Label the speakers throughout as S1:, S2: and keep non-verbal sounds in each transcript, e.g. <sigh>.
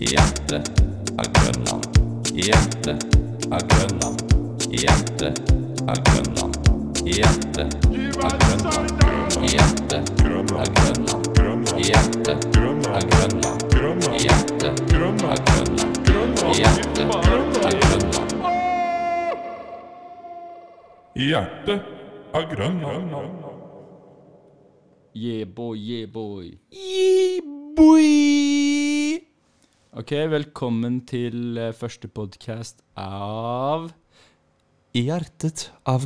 S1: Hjertet er Grønland. Hjertet er Grønland. Hjertet er Grønland. Hjertet er Grønland. Hjertet er Grønland. Hjertet er Grønland. Hjertet er Grønland. Hjertet er Grønland.
S2: Hjertet er Grønland.
S3: Yeah, boy, yeah, boy.
S4: Boy!
S3: Ok, velkommen til eh, første podkast av
S4: Hjertet av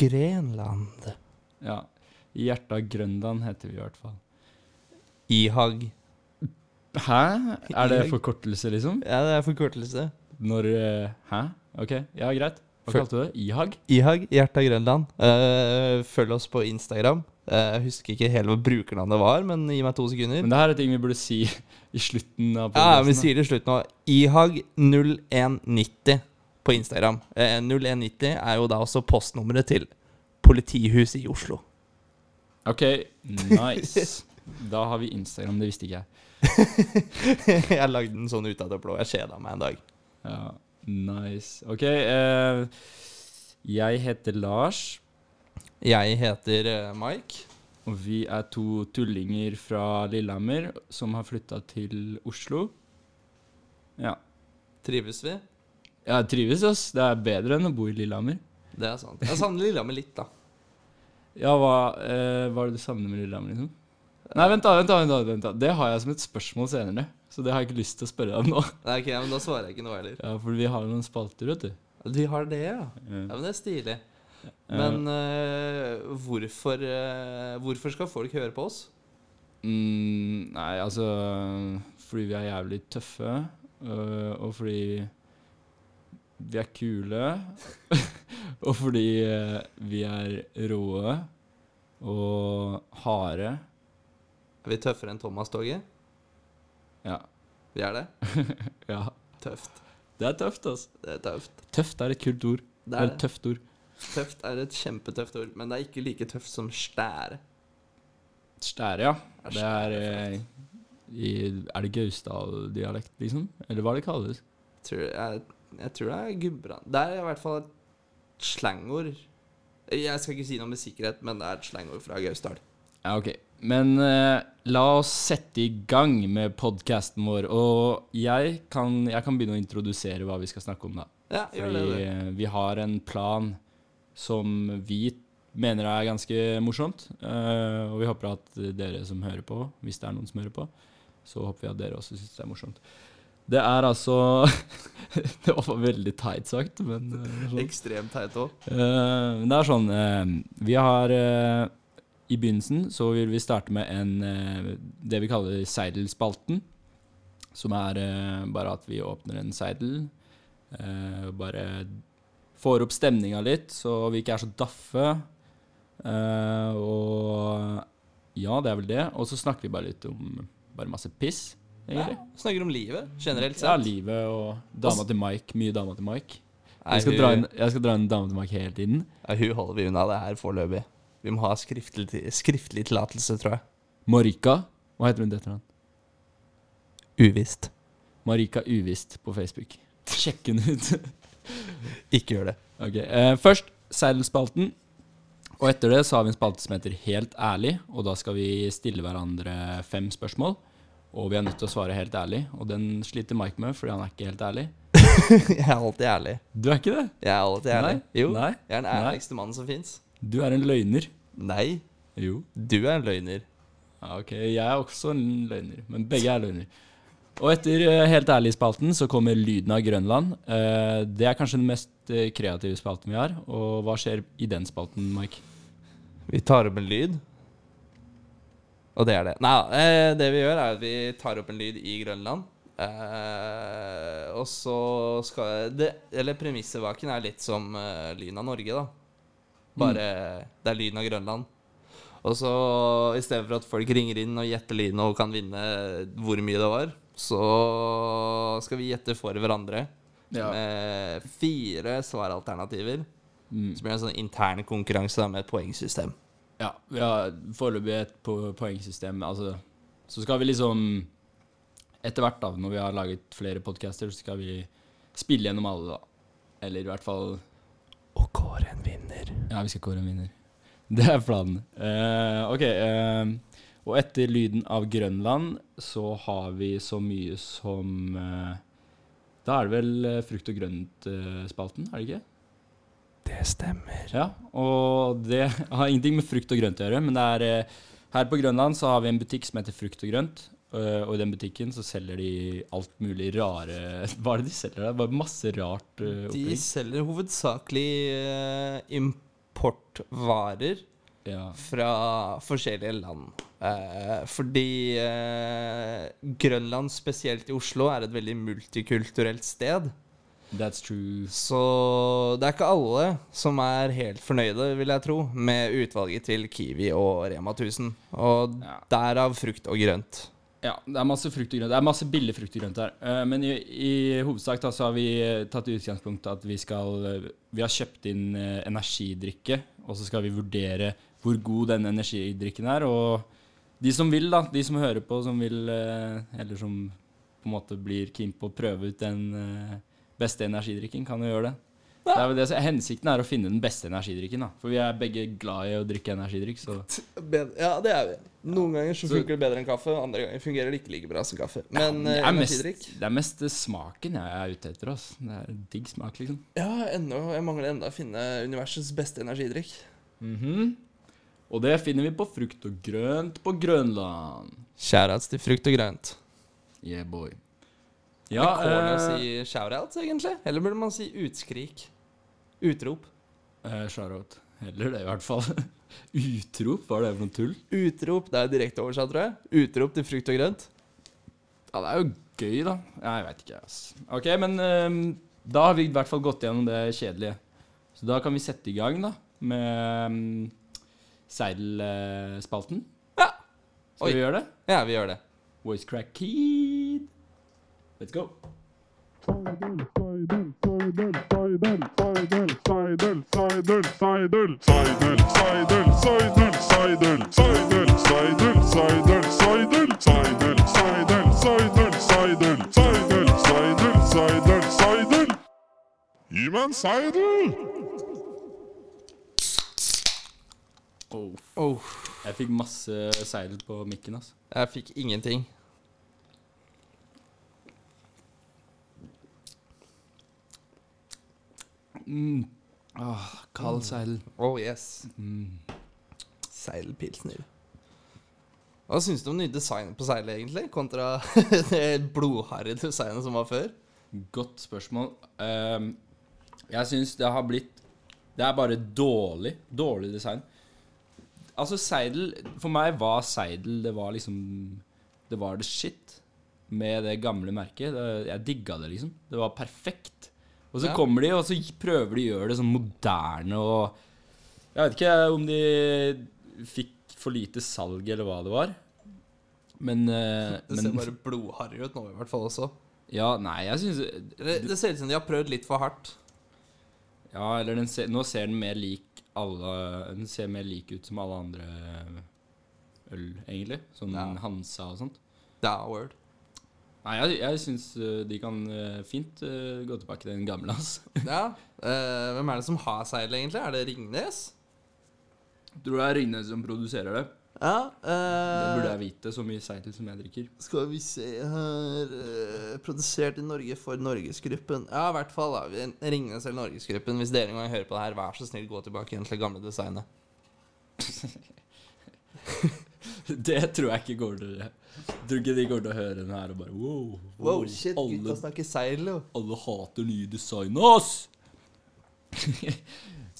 S4: Grenland.
S3: Ja, Hjertet av Grønland heter vi i hvert fall.
S4: Ihag.
S3: Hæ? Er det forkortelse, liksom?
S4: Ja, det er forkortelse.
S3: Når eh, Hæ? Ok, ja, greit. Hva
S4: For-
S3: kalte du det? Ihag?
S4: Ihag, Hjertet av Grønland. Eh, følg oss på Instagram. Eh, jeg husker ikke helt hva brukernavnet var, men gi meg to sekunder.
S3: Men det her er ting vi burde si <laughs> i slutten av
S4: Ja, vi
S3: podkasten.
S4: sier det i slutt nå. Ihag0190 på Instagram. Eh, 0190 er jo da også postnummeret til politihuset i Oslo.
S3: ok, <laughs> nice. Da har vi Instagram, det visste ikke jeg.
S4: <laughs> jeg lagde den sånn ut av det blå. Jeg kjeda meg en dag.
S3: Ja, nice. Ok, eh, jeg heter Lars.
S4: Jeg heter eh, Mike.
S3: Og vi er to tullinger fra Lillehammer som har flytta til Oslo. Ja.
S4: Trives vi?
S3: Jeg trives, ass. Det er bedre enn å bo i Lillehammer.
S4: Det er sant. Jeg savner Lillehammer litt, da.
S3: Ja, hva eh, var det du savner med Lillehammer, liksom? Nei, vent da, vent da, vent da, vent da. Det har jeg som et spørsmål senere. Så det har jeg ikke lyst til å spørre deg om nå. <laughs>
S4: Nei, ok, men Da svarer jeg ikke noe heller.
S3: Ja, For vi har jo noen spalter, vet du.
S4: Du har det, ja? Ja, men Det er stilig. Men eh, hvorfor, eh, hvorfor skal folk høre på oss?
S3: Mm, nei, altså Fordi vi er jævlig tøffe, øh, og fordi vi er kule. <laughs> og fordi øh, vi er råe og harde.
S4: Er vi tøffere enn Thomas-toget?
S3: Ja.
S4: Vi er det.
S3: ja.
S4: Tøft.
S3: Det er tøft, altså.
S4: Det er tøft.
S3: Tøft er et kult ord.
S4: Det er
S3: et
S4: det.
S3: tøft ord.
S4: Tøft er et kjempetøft ord, men det er ikke like tøft som stære.
S3: Stære, ja.
S4: Ja,
S3: Det er eh, i, Er det Gausdal-dialekt, liksom? Eller hva det kalles?
S4: Tror, jeg, jeg tror det er Gudbrand... Det er i hvert fall et slangord. Jeg skal ikke si noe med sikkerhet, men det er et slangord fra Gausdal.
S3: Ja, ok. Men eh, la oss sette i gang med podkasten vår. Og jeg kan, jeg kan begynne å introdusere hva vi skal snakke om, da.
S4: Ja, gjør det,
S3: Fordi
S4: du.
S3: eh, vi har en plan som vi mener er ganske morsomt. eh, og vi håper at dere som hører på, hvis det er noen som hører på, så håper vi at dere også syns det er morsomt. Det er altså <laughs> Det var veldig teit sagt, men eh, sånn.
S4: Ekstremt teit òg.
S3: Eh, det er sånn eh, Vi har eh, I begynnelsen så vil vi starte med en eh, Det vi kaller seidelspalten. Som er eh, bare at vi åpner en seidel. eh, bare får opp stemninga litt, så vi ikke er så daffe. Eh, og ja, det er vel det. Og så snakker vi bare litt om bare masse piss,
S4: Ja,
S3: egentlig.
S4: snakker om livet generelt
S3: Ja,
S4: sett.
S3: livet og dama til Mike. Mye dama til Mike.
S4: Nei,
S3: Jeg skal
S4: hun-
S3: dra inn, jeg skal dra inn dama til Mike hele tiden.
S4: Ja, hun holder vi unna det her foreløpig. Vi må ha skriftlig, skriftlig tillatelse, tror jeg.
S3: Marika. Hva heter hun til etternavn?
S4: Uvisst.
S3: Marika Uvisst på Facebook. Sjekk henne ut. <laughs>
S4: Ikke gjør det. <laughs>
S3: ok, eh, Først seilspalten. Og etter det så har vi en spalte som heter Helt ærlig. Og da skal vi stille hverandre fem spørsmål. Og vi er nødt til å svare helt ærlig. Og den sliter Mike med, fordi han er ikke helt ærlig.
S4: Jeg er alltid ærlig.
S3: Du er ikke det?
S4: Jeg er alltid ærlig.
S3: Nei.
S4: Jo,
S3: Nei.
S4: jeg er den
S3: Nei.
S4: ærligste mannen som fins.
S3: Du er en løgner.
S4: Nei,
S3: Jo.
S4: du er en løgner.
S3: Ja, ok, jeg er også en løgner, men begge er løgner. Og etter eh, Helt ærlig-spalten så kommer Lyden av Grønland. Eh, Det er kanskje den mest eh, kreative spalten vi har. Og hva skjer i den spalten, Mike?
S4: Vi tar opp en lyd. Og det er det. Nei, eh, det vi gjør, er at vi tar opp en lyd i Grønland. Eh, og så skal det, Eller premissevaken er litt som eh, lyden av Norge, da. Bare Det er lyden av Grønland. Og så i stedet for at folk ringer inn og gjetter lyden og kan vinne hvor mye det var, så skal vi gjette for hverandre.
S3: Ja.
S4: Med fire svaralternativer. Så blir det en sånn intern konkurranse da, med et poengsystem.
S3: Ja, vi har foreløpig et po poengsystem. Altså, så skal vi liksom etter hvert, da, når vi har laget flere podcaster, så skal vi spille gjennom alle, da. Eller i hvert fall
S4: Og kåre en vinner.
S3: Ja, vi skal kåre en vinner. <laughs> Det er planen. Eh, ok. eh, og etter lyden av Grønland så har vi så mye som eh, Da er det vel eh, frukt- og grønt-spalten, er det ikke?
S4: Det stemmer.
S3: Ja, og det <laughs> har ingenting med frukt og grønt å gjøre, men det er eh, her på Grønland så har vi en butikk som heter Frukt og grønt. eh, Og i den butikken så selger de alt mulig rare <laughs> Hva er det de selger der? Bare masse rart eh,
S4: De
S3: opplegg.
S4: selger hovedsakelig eh, importvarer
S3: Ja.
S4: fra forskjellige land. Eh, fordi eh, Grønland, spesielt i Oslo, er et veldig multikulturelt sted.
S3: That's true.
S4: Så det er ikke alle som er helt fornøyde, vil jeg tro, med utvalget til Kiwi og Rema 1000. Og
S3: Ja.
S4: derav frukt og grønt.
S3: Ja, det er masse frukt og grønt. Det er masse billig frukt og grønt her. Eh, Men i, i hovedsak da, så har vi eh, tatt i utgangspunkt at vi skal eh, Vi har kjøpt inn eh, energidrikke, og så skal vi vurdere hvor god denne energidrikken er. Og de som vil, da, de som hører på, som vil eh, Eller som på en måte blir keen på å prøve ut den eh, beste energidrikken, kan jo gjøre det. Det er vel det, som- hensikten er å finne den beste energidrikken, da. For vi er begge glad i å drikke energidrikk, så
S4: Ja, det er vi. Noen ganger så
S3: Så-
S4: funker det bedre enn kaffe, andre ganger fungerer det ikke like bra som kaffe. Men
S3: det
S4: eh,
S3: er, mest,
S4: energidrikk
S3: det er mest eh, smaken jeg er ute etter. Ass. Det er digg smak, liksom.
S4: Ja, ennå, jeg mangler enda å finne universets beste energidrikk. Mhm.
S3: Og det finner vi på frukt og grønt på Grønland.
S4: Shoutouts til frukt og grønt.
S3: Yeah, boy.
S4: Ja,
S3: Ja,
S4: Kårlig å
S3: eh,
S4: si shoutouts, egentlig. Eller burde man si utskrik? Utrop.
S3: eh, shoutout. Heller det, i hvert fall. <laughs> Utrop, hva er det for noe tull?
S4: Utrop, det er direkte oversatt, tror jeg. Utrop til frukt og grønt.
S3: Ja, det er jo gøy, da. Ja, Jeg veit ikke, ass. Ok, men ehm, da har vi i hvert fall gått gjennom det kjedelige. Så da kan vi sette i gang, da, med um, Seidel-spalten.
S4: Ja.
S3: Skal
S4: Oi.
S3: vi gjøre det?
S4: Ja, vi gjør det.
S3: Voice Crack Kid. Let's go.
S2: Gi meg en seidel!
S3: Oh.
S4: Oh,
S3: Jeg fikk masse seidel på mikken, altså.
S4: jeg fikk ingenting.
S3: Åh, kald seidel.
S4: Oh yes. Seilpilsner. Hva syns du om nye designet på seilet, egentlig? Kontra <laughs> det blodharry designet som var før?
S3: Godt spørsmål. Ehm, jeg syns det har blitt Det er bare dårlig. Dårlig design. Altså, seidel For meg var seidel Det var liksom Det var the shit med det gamle merket. Det- Jeg digga det, liksom. Det var perfekt. Og så
S4: Ja.
S3: kommer de, og så prøver de å gjøre det sånn moderne og Jeg vet ikke om de fikk for lite salg, eller hva det var. Men, eh,
S4: <laughs> Det ser
S3: men
S4: bare blodharry ut nå, i hvert fall også.
S3: Ja, nei, jeg syns
S4: Det, det ser ut som de har prøvd litt for hardt.
S3: Ja, eller den ser, nå ser den mer lik alle Den ser mer lik ut som alle andre eh, øl, egentlig. Sånn
S4: Ja.
S3: Hansa og sånt.
S4: Ja, word.
S3: Nei, jeg, jeg syns øh, de kan øh, fint øh, gå tilbake til den gamle, altså.
S4: Ja. eh, hvem er det som har seil, egentlig? Er det Ringnes?
S3: Tror det er Ringnes som produserer det.
S4: Ja.
S3: Det burde
S4: eh,
S3: jeg vite, så mye seidel som jeg drikker. <laughs>
S4: skal vi se her eh, Produsert i Norge for Norgesgruppen. Ja, i hvert fall. da Ringnes eller Norgesgruppen. Hvis dere en gang hører på det her, vær så snill gå tilbake igjen til det gamle designet.
S3: Det tror jeg ikke går til det. Tror ikke de går til å høre den her og bare wow.
S4: Wow, shit, gutta
S3: alle,
S4: snakker seil, jo.
S3: alle hater nye design, ass! <laughs>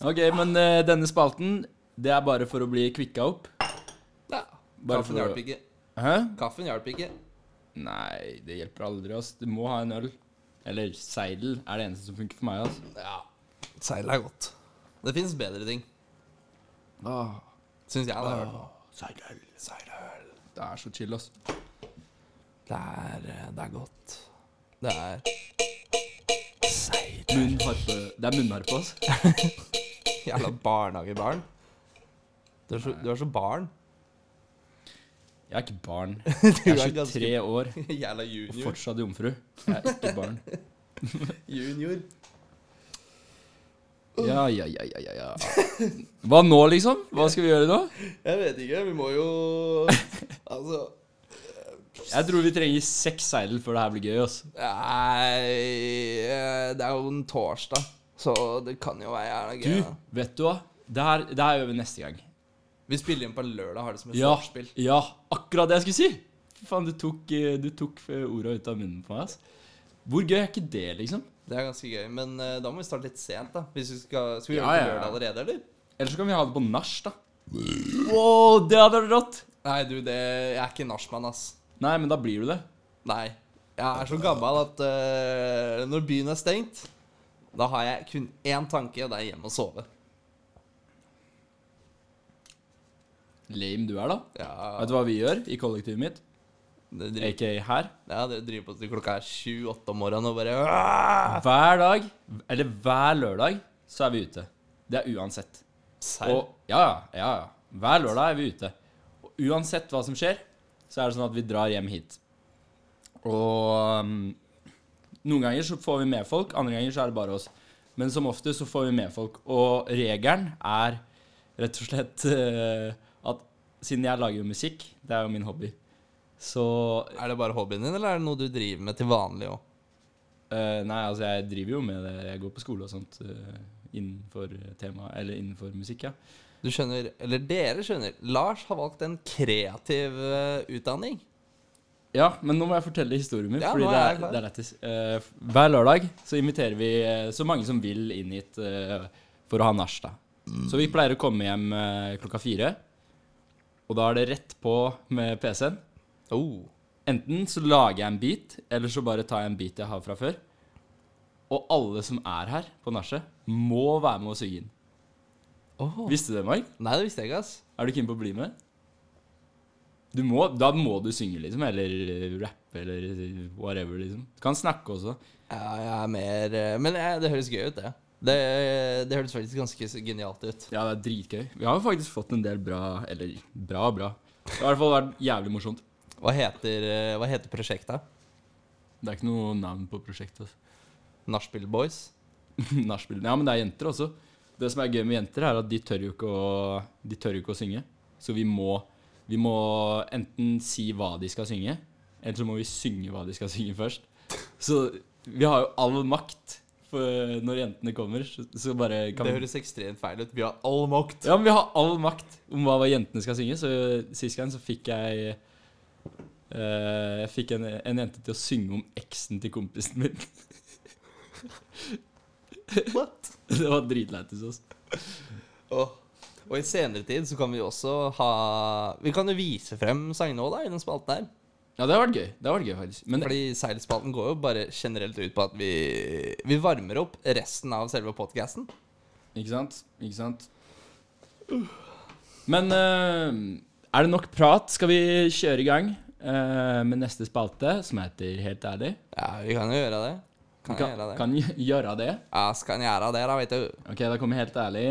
S3: ok, men øh, denne spalten, det er bare for å bli kvikka opp.
S4: Ja.
S3: Bare
S4: Kaffen
S3: for å-
S4: hjalp ikke.
S3: Hæ?
S4: Kaffen hjalp ikke.
S3: Nei, det hjelper aldri, ass. Du må ha en øl. Eller seidel er det eneste som funker for meg, ass.
S4: Ja. Seil er godt. Det fins bedre ting.
S3: Ah.
S4: Syns jeg, da. i hvert fall.
S3: Seidel, seidel. Det er så chill, ass.
S4: Det er, eh, det er godt. Det er Seil.
S3: Munnharpe. Det er munnharpe, ass.
S4: Jævla barnehagebarn. Du er så, du er så barn.
S3: Jeg er ikke barn. <laughs>
S4: Du
S3: Jeg
S4: er
S3: er
S4: ganske
S3: 23 år
S4: <laughs> Jævla
S3: og
S4: junior.
S3: fortsatt jomfru. Jeg er ikke barn.
S4: Junior.
S3: Ja, ja, ja, ja, ja, ja. Hva nå, liksom? Hva skal vi gjøre nå?
S4: Jeg vet ikke, vi må jo <laughs> Altså
S3: Jeg tror vi trenger seks seidel før det her blir gøy. ass.
S4: Nei eh, Det er jo en torsdag, så det kan jo være jævla
S3: Du,
S4: gøy. da.
S3: vet du hva? Det her, det her gjør vi neste gang.
S4: Vi spiller inn på lørdag, har det som et
S3: Ja,
S4: vorspiel.
S3: ja, akkurat det jeg skulle si! Fy Faen, du tok, eh, du tok eh, orda ut av munnen på meg. ass. Hvor gøy er ikke det, liksom?
S4: Det er ganske gøy, men eh, da må vi starte litt sent, da. Hvis vi skal, skal vi
S3: Ja, ja,
S4: gjøre det på
S3: ja.
S4: lørdag allerede, eller?
S3: Eller så kan vi ha det på nach, da. Wow, det hadde vært rått!
S4: Nei, du, det Jeg er ikke nachmann, ass.
S3: Nei, men da blir du det.
S4: Nei. Jeg er så gammel at eh, når byen er stengt, da har jeg kun én tanke, og det er hjem og sove.
S3: Lame du er, da.
S4: Ja,
S3: Vet du hva vi gjør i kollektivet mitt?
S4: det driver,
S3: Aka her.
S4: ja, det driver på til klokka er sju-åtte om morgenen og bare «Åh!»
S3: Hver dag, eller hver lørdag, så er vi ute. Det er uansett.
S4: Serr?
S3: Og ja, ja, ja, ja. Hver lørdag er vi ute. Og uansett hva som skjer, så er det sånn at vi drar hjem hit. Og um, noen ganger så får vi med folk, andre ganger så er det bare oss. Men som oftest så får vi med folk. Og regelen er rett og slett eh, at siden jeg lager jo musikk, det er jo min hobby, så
S4: Er det bare hobbyen din, eller er det noe du driver med til vanlig òg?
S3: eh, Nei, altså jeg driver jo med det. Jeg går på skole og sånt eh, innenfor tema, eller innenfor musikk, ja.
S4: Du skjønner, eller dere skjønner, Lars har valgt en kreativ eh, utdanning.
S3: Ja, men nå må jeg fortelle historien min,
S4: Ja,
S3: fordi
S4: nå er
S3: det
S4: jeg
S3: er,
S4: klar.
S3: det er lættis. Eh, hver lørdag så inviterer vi eh, så mange som vil inn hit eh, for å ha nach, da. Så vi pleier å komme hjem eh, klokka fire, og da er det rett på med PC-en.
S4: Oh.
S3: Enten så lager jeg en beat, eller så bare tar jeg en beat jeg har fra før. Og alle som er her på nachet, må være med og synge inn. Visste du det, Mark?
S4: Nei, det visste jeg ikke, ass.
S3: Er du keen på å bli med? Du må, da må du synge, liksom. Eller eh, rappe, eller eh, whatever, liksom. Du kan snakke også.
S4: Ja, jeg er mer eh, Men eh, det høres gøy ut, det. Det, det høres faktisk ganske s- genialt ut.
S3: Ja, det er dritgøy. Vi har jo faktisk fått en del bra Eller bra, bra. Det har i hvert fall vært jævlig morsomt.
S4: Hva heter, eh, hva heter prosjektet?
S3: Det er ikke noe navn på prosjektet. Altså.
S4: Nachspiel Boys?
S3: <laughs> Nachspiel. Ja, men det er jenter også. Det som er gøy med jenter, er at de tør jo ikke å, de tør jo ikke å synge. Så vi må, vi må enten si hva de skal synge, eller så må vi synge hva de skal synge først. Så vi har jo all makt. For når jentene kommer, så, så bare kan
S4: Det
S3: vi
S4: høres ekstremt feil ut. Vi har all makt.
S3: Ja, men vi har all makt om hva jentene skal synge. Så sist gang så fikk jeg eh, Jeg fikk en, en jente til å synge om eksen til kompisen min. <laughs>
S4: What?
S3: Det var dritlættis. altså.
S4: Åh. Og i senere tid så kan vi også ha Vi kan jo vise frem sangene òg, da, i den spalten her.
S3: Ja, det har vært gøy. Det har vært gøy, faktisk. Men
S4: Fordi seilspalten går jo bare generelt ut på at vi, vi varmer opp resten av selve podkasten.
S3: Ikke sant? Ikke sant? Men eh, er det nok prat? Skal vi kjøre i gang eh, med neste spalte, som heter Helt ærlig?
S4: Ja, vi kan jo gjøre det. Kan,
S3: Kan,
S4: gjøre det.
S3: kan gjøre det.
S4: Ja, skal en gjøre det, da, vet du.
S3: Ok, da kommer Helt ærlig.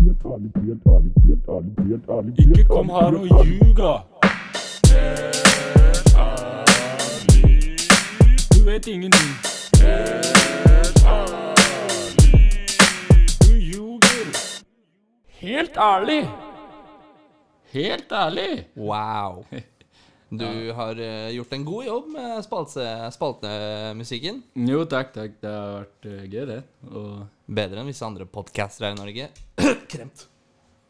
S2: Helt ærlig, helt ærlig, helt ærlig, helt ærlig.
S1: Ikke kom her og ljug, da. Du vet ingenting. Du ljuger. Helt ærlig.
S3: Helt ærlig! <laughs>
S4: Wow. Du har eh, gjort en god jobb med spalte, spaltemusikken.
S3: Jo, takk, takk. Det har vært eh, gøy, det. Og
S4: Bedre enn visse andre podcaster her i Norge. Kremt.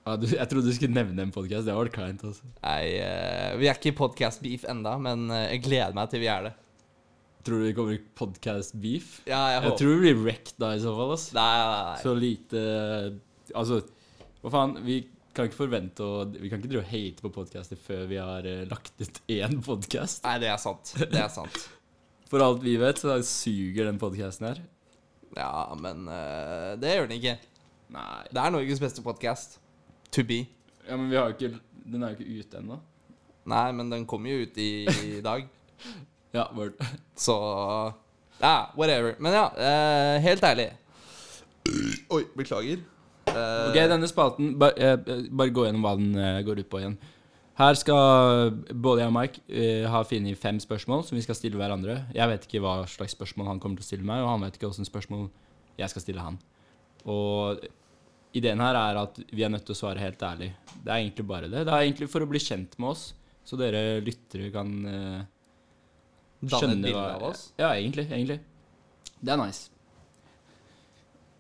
S3: ja, du, jeg trodde du skulle nevne en podkast. Det var kleint, altså.
S4: Nei, eh, vi er ikke i podcast-beef enda, men eh, jeg gleder meg til vi er det.
S3: Tror du det kommer podcast-beef?
S4: Ja, jeg
S3: Jeg
S4: håper
S3: tror det blir wrecked da, i så fall. ass.
S4: Nei, nei, nei.
S3: Så lite Altså, hva faen? Vi kan ikke forvente å Vi kan ikke drive og hate på podkaster før vi har eh, lagt ut én podkast.
S4: nei, det er sant. Det er sant.
S3: For alt vi vet, så suger den podkasten her.
S4: Ja, men eh, det gjør den ikke.
S3: Nei.
S4: Det er Norges beste podcast. To be.
S3: Ja, Men vi har jo ikke Den er jo ikke ute ennå.
S4: Nei, men den kommer jo ut i, <laughs> i dag,
S3: Ja, word.
S4: så Ja, whatever. Men ja, eh, helt ærlig. Oi, beklager. Eh,
S3: Ok, denne spalten ba, eh, Bare gå gjennom hva den eh, går ut på igjen. Her skal både jeg og Mike eh, ha funnet fem spørsmål som vi skal stille hverandre. Jeg vet ikke hva slags spørsmål han kommer til å stille meg, og han vet ikke hvilke spørsmål jeg skal stille han. Og ideen her er at vi er nødt til å svare helt ærlig. Det er egentlig bare det. Det er egentlig for å bli kjent med oss, så dere lyttere kan eh,
S4: Danne et
S3: skjønne
S4: bilde
S3: hva
S4: av oss.
S3: Ja, egentlig. egentlig. Det er nice.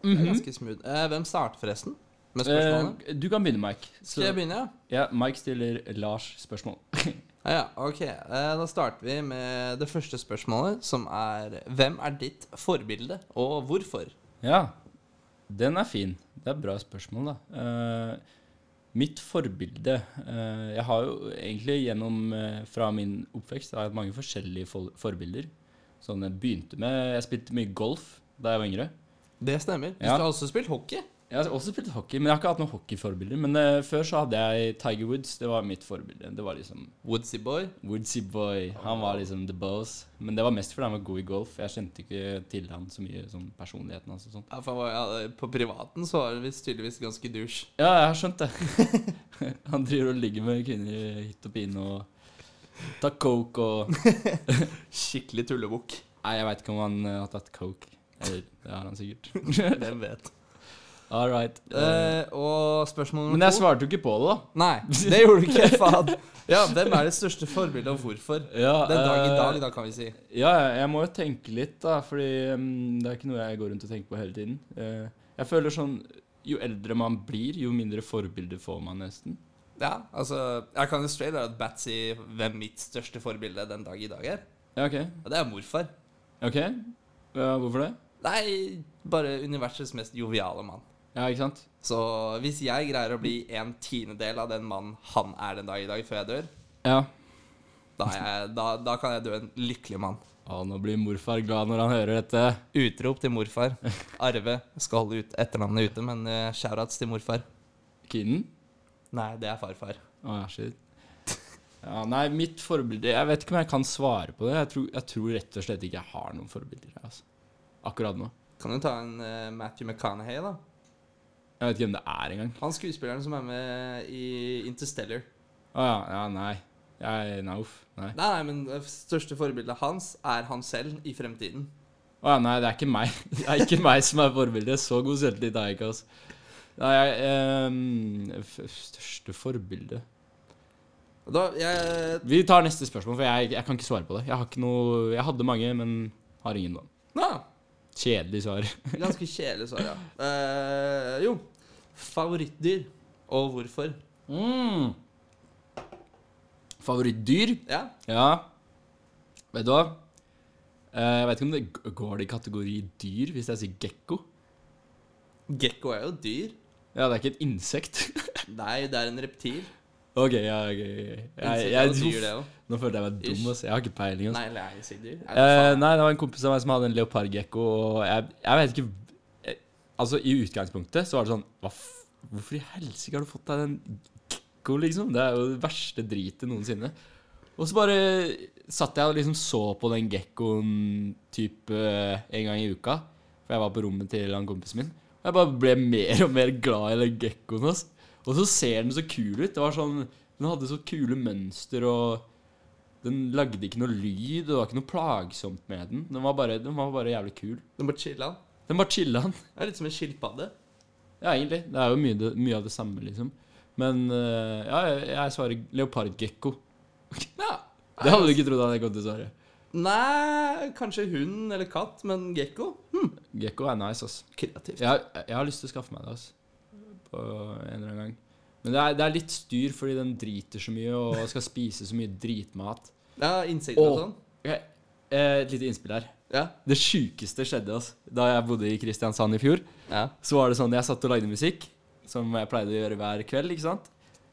S4: Det er ganske smooth. Eh, hvem starter forresten med spørsmålene?
S3: Eh, du kan begynne, Mike. Så-
S4: Skal jeg begynne, ja?
S3: Ja, Mike stiller Lars spørsmål. <laughs>
S4: Ja, Ja, ok. Eh, Da starter vi med det første spørsmålet, som er Hvem er ditt forbilde, og hvorfor?
S3: ja, den er fin. Det er bra spørsmål, da. Eh, mitt forbilde eh, Jeg har jo egentlig gjennom eh, fra min oppvekst har jeg hatt mange forskjellige for forbilder. Sånn jeg begynte med Jeg spilte mye golf da jeg var yngre.
S4: Det stemmer. Du
S3: Ja.
S4: har også spilt hockey.
S3: Jeg har også spilt hockey, men jeg har ikke hatt noen hockeyforbilder. Men eh, før så hadde jeg Tiger Woods. Det var mitt forbilde. Det var liksom
S4: Woodsy boy.
S3: Woodsy boy. Han var liksom the boss. Men det var mest fordi han var god i golf. Jeg kjente ikke til han så mye, sånn personligheten hans og sånn.
S4: Ja, for han var, ja, på privaten så var han visst tydeligvis ganske douche.
S3: Ja, jeg har skjønt det. <laughs> han driver og ligger med kvinner i hytt og pine og tar coke og
S4: Skikkelig tullebukk.
S3: Nei, jeg veit ikke om han eh, har tatt coke. Eller det har han sikkert.
S4: Hvem
S3: <laughs>
S4: vet.
S3: All right. Eh,
S4: Eh, og spørsmål
S3: men
S4: nummer
S3: jeg
S4: to
S3: svarte jo ikke på det, da.
S4: Nei, det gjorde du ikke. Faen. Ja, hvem er det største forbildet, og hvorfor?
S3: Ja,
S4: Den dag i
S3: eh,
S4: dag, da, kan vi si.
S3: Ja, jeg må jo tenke litt, da, fordi mm, det er ikke noe jeg går rundt og tenker på hele tiden. Eh, jeg føler sånn Jo eldre man blir, jo mindre forbilder får man nesten.
S4: Ja, altså Jeg kan jo straight out bat si hvem mitt største forbilde den dag i dag er.
S3: Ja, OK.
S4: Og det er morfar.
S3: Ok, ja, Hvorfor det?
S4: Nei, bare universets mest joviale mann.
S3: Ja, ikke sant?
S4: Så hvis jeg greier å bli en tiendedel av den mannen han er den dag i dag, før jeg dør,
S3: Ja.
S4: da, er jeg, da, da kan jeg dø en lykkelig mann.
S3: Å, nå blir morfar glad når han hører dette.
S4: Utrop til morfar. Arve skal holde ut etternavnet ute, men eh, shoutouts til morfar.
S3: Kiden?
S4: Nei, det er farfar.
S3: Å, ja, shit. <laughs> Ja, nei, mitt forbilde Jeg vet ikke om jeg kan svare på det. Jeg tror, jeg tror rett og slett ikke jeg har noen forbilder. jeg, Altså. Akkurat nå.
S4: Kan jo ta en eh, Matthew McConaughey, da.
S3: Jeg vet ikke hvem det er engang.
S4: Han skuespilleren som er med i Interstellar.
S3: Å ja, ja, nei. Jeg, nei, uff. Nei.
S4: Nei, nei, men det største forbildet hans er han selv i fremtiden.
S3: Å ja, nei, det er ikke meg. <laughs> Det er ikke meg som er forbildet. Så god selvtillit har jeg ikke, altså. Nei, jeg, ehm, f største forbilde
S4: Og da, jeg,
S3: Vi tar neste spørsmål, for jeg, jeg kan ikke svare på det. Jeg har ikke noe Jeg hadde mange, men har ingen nå.
S4: nå,
S3: Kjedelig svar. <laughs>
S4: Ganske kjedelig svar, ja. Eh, jo. Favorittdyr. Og hvorfor.
S3: Mm. Favorittdyr?
S4: Ja.
S3: Ja. Vet du hva? Eh, Jeg vet ikke om det g- går det i kategori dyr hvis jeg sier gekko.
S4: Gekko er jo et dyr.
S3: Ja, det er ikke et insekt. <laughs>
S4: Nei, det er en reptil.
S3: OK, ja, ok, ok. Jeg,
S4: Insekter er
S3: jeg,
S4: jo dyr, det òg.
S3: nå følte jeg meg dum.
S4: Ish.
S3: ass. Jeg har ikke peiling. altså. ass.
S4: Nei, eller er det ikke dyr? Er det
S3: Eh,
S4: faen?
S3: nei, det var en kompis av meg som hadde en leopardgekko, og jeg, jeg vet ikke jeg, Altså, i utgangspunktet så var det sånn Hva f... Hvorfor i helsike har du fått deg den gekko, liksom? Det er jo det verste dritet noensinne. Og så bare satt jeg og liksom så på den gekkoen typ eh, en gang i uka. For jeg var på rommet til han kompisen min. Og jeg bare ble mer og mer glad i den gekkoen hans. Og så ser den så kul ut. Det var sånn Den hadde så kule mønster og den lagde ikke noe lyd, og det var ikke noe plagsomt med den. Den var bare, den var bare jævlig kul.
S4: Du må chille han.
S3: Den bare chilla han.
S4: Det er litt som en skilpadde.
S3: <laughs> Ja, egentlig. Det er jo mye, det- mye av det samme, liksom. Men eh, ja, jeg, jeg svarer leopardgekko. <laughs>
S4: Ja.
S3: Det hadde du ikke trodd at jeg kom til å svare.
S4: Nei, kanskje hund eller katt, men gekko?
S3: Gekko er nice, ass.
S4: Kreativt.
S3: Jeg, jeg har lyst til å skaffe meg det, ass. På en eller annen gang. Men det er, det er litt styr fordi den driter så mye og skal spise så mye dritmat.
S4: Ja, insekter og
S3: Åh.
S4: sånn.
S3: Ok, eh, Et lite innspill her.
S4: Ja.
S3: Det sjukeste skjedde ass, da jeg bodde i Kristiansand i fjor.
S4: ja.
S3: Så var det sånn, jeg satt og lagde musikk, som jeg pleide å gjøre hver kveld, ikke sant?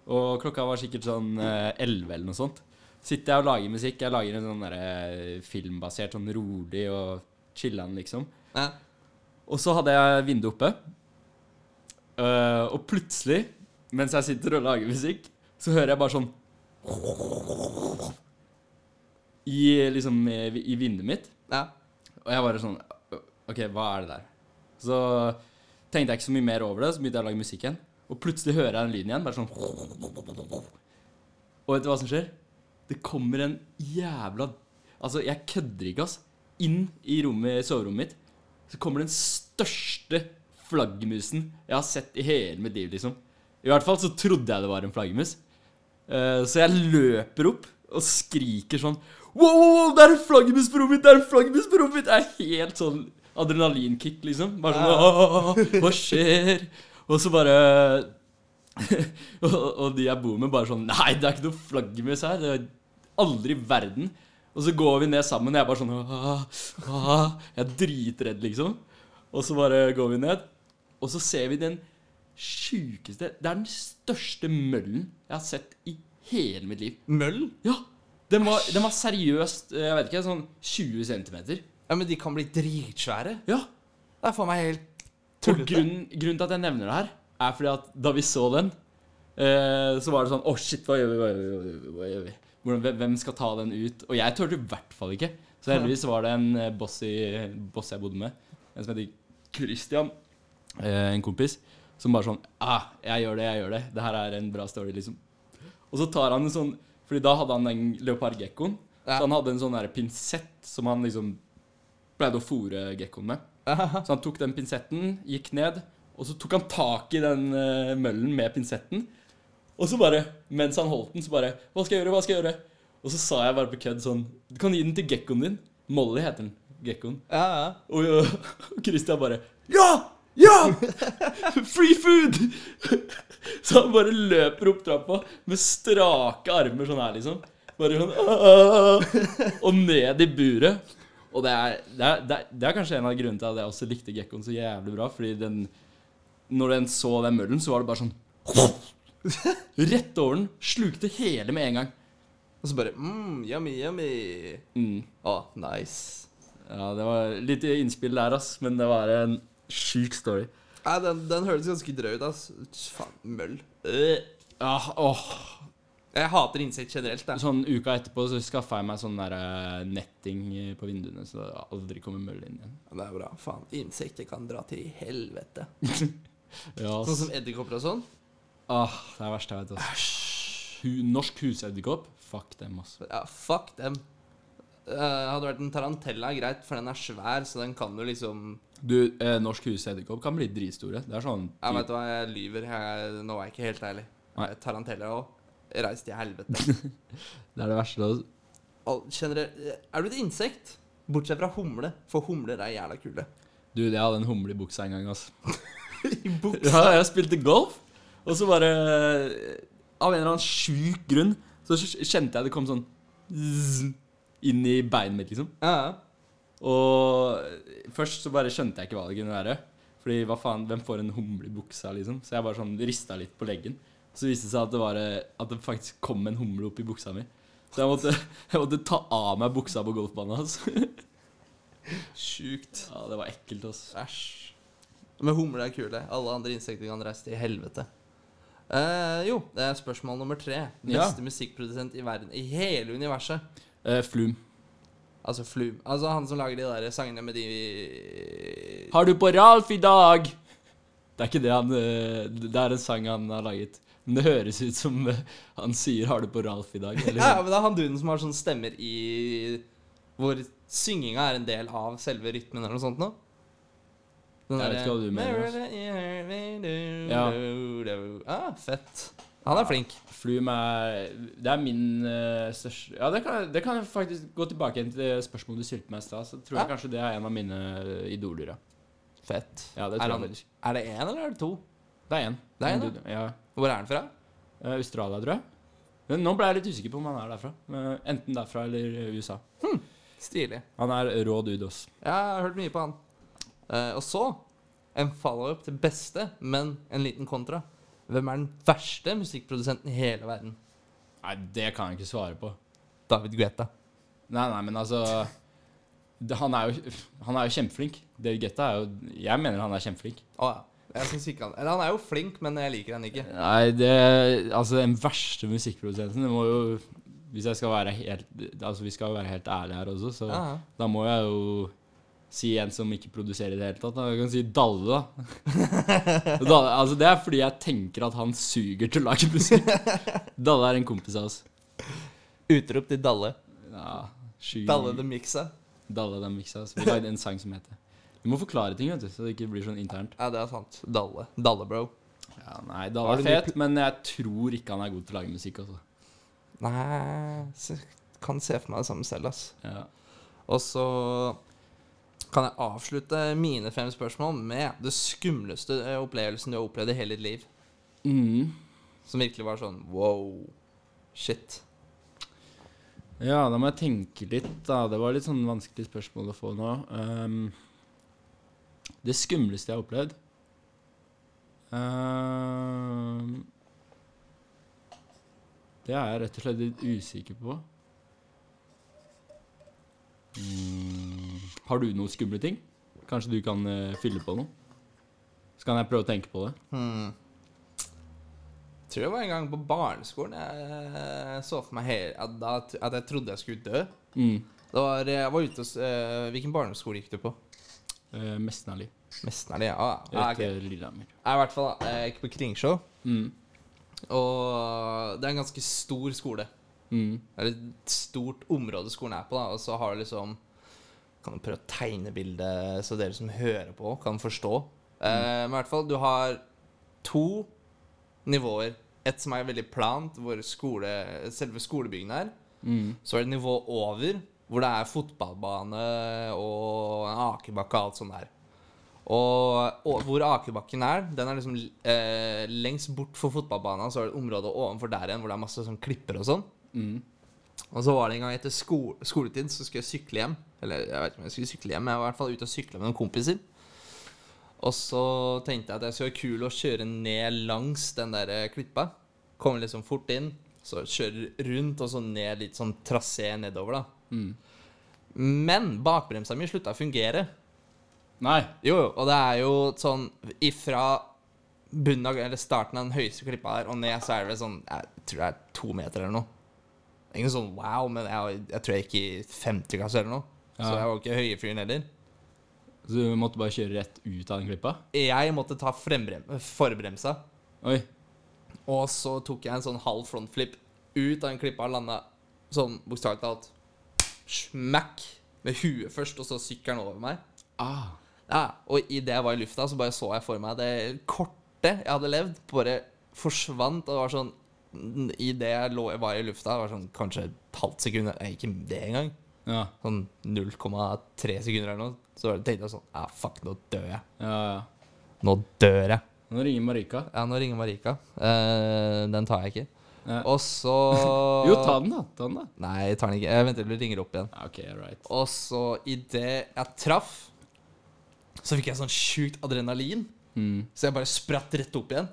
S3: Og klokka var sikkert sånn eh, 11 eller noe sånt. Sitter jeg og lager musikk, jeg lager en sånn der eh, filmbasert, sånn rolig og chillan liksom.
S4: ja.
S3: Og så hadde jeg vinduet oppe, Eh, og plutselig, mens jeg sitter og lager musikk, så hører jeg bare sånn i, liksom, eh, vi- i vinduet mitt.
S4: ja.
S3: Og jeg bare sånn OK, hva er det der? Så tenkte jeg ikke så mye mer over det, så begynte jeg å lage musikk igjen. Og plutselig hører jeg den lyden igjen, bare sånn Og vet du hva som skjer? Det kommer en jævla Altså, jeg kødder ikke, ass. Inn i rommet, soverommet mitt så kommer den største flaggermusen jeg har sett i hele mitt liv, liksom. I hvert fall så trodde jeg det var en flaggermus. Eh, Så jeg løper opp og skriker sånn Wow, wow, wow, det er en flaggermus på rommet mitt! Det er en flaggermus på rommet mitt! Det er helt sånn adrenalinkick, liksom. Bare sånn «Åh, åh, åh, Hva skjer? Og så bare <laughs> og, og de jeg bor med, bare sånn Nei, det er ikke noe flaggermus her. Det er aldri i verden. Og så går vi ned sammen, og jeg bare sånn «Åh, åh». Jeg er dritredd, liksom. Og så bare går vi ned, og så ser vi den sjukeste Det er den største møllen jeg har sett i hele mitt liv.
S4: Møll?
S3: Ja! Den var, den var seriøst eh, jeg vet ikke, sånn 20 cm.
S4: Ja, men de kan bli dritsvære.
S3: Ja.
S4: Det er for meg helt
S3: Og
S4: tullete.
S3: grunnen, grunnen til at jeg nevner det her, er fordi at da vi så den, eh, så var det sånn Å, shit, hva gjør vi? Hva gjør vi? Hva gjør vi? Hva gjør vi? Hvordan, hvem- hvem skal ta den ut? Og jeg turte i hvert fall ikke. Så heldigvis var det en eh, boss, i, boss jeg bodde med, en som heter Christian, eh, en kompis, som bare sånn ah, 'Jeg gjør det, jeg gjør det. Det her er en bra story', liksom. Og så tar han en sånn Fordi da hadde han den leopardgekkoen.
S4: Ja.
S3: Så han hadde en sånn der pinsett som han liksom pleide å fòre gekkoen med. Så han tok den pinsetten, gikk ned, og så tok han tak i den eh, møllen med pinsetten. Og så bare, mens han holdt den, så bare Hva skal jeg gjøre? Hva skal jeg gjøre? Og så sa jeg bare på kødd sånn Du kan gi den til gekkoen din. Molly heter den. Gekkoen.
S4: Ja, ja.
S3: Og jo, Christian bare Ja! Ja! Free food! <laughs> Så han bare løper opp trappa med strake armer sånn her, liksom. Bare sånn «Åh!» ah». Og ned i buret. Og det er, det, er, det, er, det er kanskje en av grunnene til at jeg også likte gekkoen så jævlig bra. Fordi den Når den så den møllen, så var det bare sånn <laughs> Rett over den. Slukte hele med en gang.
S4: Og så bare mm, yummy, yummy.
S3: Mm.
S4: Å, nice.
S3: Ja, det var litt innspill der, ass. Men det var en sjuk story.
S4: Nei, den, den høres ganske drøy ut, ass. Faen, møll.
S3: Øh, Ja, åh.
S4: Jeg hater insekt generelt, da.
S3: Sånn uka etterpå så skaffa jeg meg sånn der eh, netting eh, på vinduene, så det aldri kommer møll inn igjen.
S4: Det er bra. Faen, insekter kan dra til helvete.
S3: Ja,
S4: Sånn som edderkopper og sånn.
S3: ah, Det er verst jeg vet, ass. Hu, norsk husedderkopp? Fuck dem, ass.
S4: Ja, fuck dem. Eh, hadde det vært en tarantella, greit, for den er svær, så den kan jo liksom
S3: Du, eh, norsk husedderkopp kan bli dritsstore. Det er sånn
S4: Jeg vet du hva, jeg lyver. Jeg, nå er jeg ikke helt ærlig. Eh,
S3: Nei.
S4: Tarantella òg. Reis til helvete. <laughs>
S3: Det er det verste. ass.
S4: Al- Generelt eh, Er du et insekt? Bortsett fra humle, for humler er jævla kule.
S3: Du, jeg hadde en humle i buksa en gang, ass.
S4: I buksa.
S3: <laughs> Ja, jeg spilte golf, og så bare eh, Av en eller annen sjuk grunn så kjente jeg det kom sånn zzz, inn i beinet mitt, liksom.
S4: Ja.
S3: Og først så bare skjønte jeg ikke hva det kunne være. Fordi hva faen, hvem får en humle i buksa, liksom? Så jeg bare sånn rista litt på leggen. Så viste det seg at det, var, eh, at det faktisk kom en humle opp i buksa mi. Så jeg måtte, <laughs> jeg måtte ta av meg buksa på golfbanen hans.
S4: Sjukt.
S3: <laughs> Ja, det var ekkelt, altså.
S4: Æsj. Men humler er kule. Alle andre insekter kan reise til helvete. Eh, jo, det er spørsmål nummer tre.
S3: Ja.
S4: Beste musikkprodusent i verden. I hele universet.
S3: Eh, flum.
S4: Altså Flum. Altså han som lager de der sangene med de
S3: Har du på Ralf i dag? Det er ikke det han eh, Det er en sang han har laget. Men det høres ut som eh, han sier 'Har du på Ralf i dag'? Eller,
S4: Ja, men det er han duden som har sånne stemmer i Hvor synginga er en del av selve rytmen eller noe sånt nå.
S3: Jeg
S4: Den
S3: vet
S4: derre-
S3: ikke hva du mener,
S4: Ah, fett. Han er flink.
S3: Flum er Det er min eh, største Ja, det kan, det kan jeg faktisk gå tilbake igjen til det spørsmålet du stilte meg i stad. Så tror jeg
S4: Ja.
S3: kanskje det er en av mine idoler, ja.
S4: Fett.
S3: Ja, det
S4: er,
S3: tror
S4: han,
S3: jeg faktisk.
S4: er det én eller er det to?
S3: Det er én.
S4: Det er en,
S3: du- ja.
S4: Hvor er han fra?
S3: Eh, Australia, tror jeg. Men nå ble jeg litt usikker på om han er derfra. Eh, Enten derfra eller eh, USA.
S4: Stilig.
S3: Han er rå dude, ass.
S4: Ja, jeg har hørt mye på han. Eh, og så en follow-up til beste, men en liten kontra. Hvem er den verste musikkprodusenten i hele verden?
S3: Nei, det kan jeg ikke svare på.
S4: David Guetta.
S3: Nei, nei, men altså det, han, er jo, han er jo kjempeflink. David Guetta er jo Jeg mener han er kjempeflink.
S4: Å ja. Jeg synes ikke han Eller han er jo flink, men jeg liker han ikke.
S3: Nei, det Altså, den verste musikkprodusenten det må jo Hvis jeg skal være helt Altså, vi skal jo være helt ærlige her også, så
S4: Ja, ja.
S3: da må jeg jo si en som ikke produserer i det hele tatt. Da. Jeg kan si
S4: <laughs>
S3: Dalle, da.
S4: <laughs>
S3: Dalle. Altså, det er fordi jeg tenker at han suger til å lage musikk. Dalle er en kompis av oss.
S4: Utrop til Dalle.
S3: Ja, sky
S4: Dalle the Mixa.
S3: Dalle dem miksa. Så vi lagde en sang som heter Vi må forklare ting, vet du, så det ikke blir sånn internt.
S4: Ja, det er sant. Dalle. Dalle, bro.
S3: Ja, nei, Dalle er fet, men jeg tror ikke han er god til å lage musikk, altså.
S4: Nei så Kan se for meg det samme selv, ass.
S3: Ja.
S4: Og så kan jeg avslutte mine fem spørsmål med det skumleste eh, opplevelsen du har opplevd i hele ditt liv.
S3: Mm.
S4: Som virkelig var sånn wow, shit.
S3: Ja, da må jeg tenke litt, da. Det var litt sånn vanskelig spørsmål å få nå. Ehm, det skumleste jeg har opplevd Ehm, Det er jeg rett og slett litt usikker på. Mm, har du noen skumle ting? Kanskje du kan eh, fylle på noe? Så kan jeg prøve å tenke på det.
S4: Hmm. Tror det var en gang på barneskolen jeg eh, så for meg hele, at, da, at jeg trodde jeg skulle dø.
S3: Mm.
S4: Det var, jeg var ute hos eh, Hvilken barneskole gikk du på?
S3: Uh, Mesnali.
S4: Nesten er det, ja. Ah, ja ok.
S3: Etter eh, Lillehammer.
S4: Jeg, I hvert fall, eh, jeg gikk på Kringsjå,
S3: Mm.
S4: og det er en ganske stor skole.
S3: Mm.
S4: Det er et stort område skolen er på, da, og så har du liksom Kan du prøve å tegne bildet så dere som hører på, kan forstå? Eh, men i hvert fall, du har to nivåer. Et som er veldig plant, hvor skole, selve skolebyggene er.
S3: Mm.
S4: Så er det et nivå over, hvor det er fotballbane og en akebakke og alt sånt der. Og, og hvor akebakken er, den er liksom eh, lengst bort for fotballbanen, så er det et område ovenfor der igjen hvor det er masse sånn klipper og sånn.
S3: Mm.
S4: Og så var det en gang etter sko skoletid, så skulle jeg sykle hjem. Eller jeg vet ikke om jeg skulle sykle hjem, men jeg var i hvert fall ute og sykla med noen kompiser. Og så tenkte jeg at jeg skulle være kul og kjøre ned langs den der eh, klippa. Kommer liksom fort inn, så kjører rundt og så ned litt sånn trasé nedover, da.
S3: Mm.
S4: Men bakbremsa mi slutta å fungere.
S3: Nei.
S4: Jo, jo, og det er jo sånn ifra bunnen av, eller starten av den høyeste klippa der og ned, så er det vel sånn Jeg tror det er to meter eller noe. Det er Ikke sånn wow, men jeg, jeg tror jeg gikk i femte klasse eller noe. Så
S3: Ja.
S4: jeg var ikke høyefyren heller.
S3: Så du måtte bare kjøre rett ut av den klippa?
S4: Jeg måtte ta frembrem, forbremsa,
S3: Oi.
S4: og så tok jeg en sånn halv frontflip ut av den klippa og landa sånn bokstavelig talt smack med huet først, og så sykkelen over meg.
S3: Ah.
S4: Ja, og idet jeg var i lufta, så bare så jeg for meg det korte jeg hadde levd, bare forsvant. Og det var sånn Idet jeg lå, var i lufta, det var sånn kanskje et halvt sekund, nei, ikke det engang.
S3: Ja,
S4: Sånn 0,3 sekunder eller noe. Så bare tenkte jeg sånn Ja, fuck, nå dør jeg.
S3: ja, ja.
S4: Nå dør jeg.
S3: Nå ringer Marika.
S4: Ja, nå ringer Marika. Eh, den tar jeg ikke.
S3: Nei.
S4: Og så
S3: <laughs>
S4: Ah.
S3: Jo, ta den, da. Ta den, da.
S4: Nei, jeg tar den ikke. Jeg venter til du ringer opp igjen.
S3: Ja, OK, right.
S4: Og så idet jeg traff, så fikk jeg sånn sjukt adrenalin.
S3: Mm.
S4: Så jeg bare spratt rett opp igjen.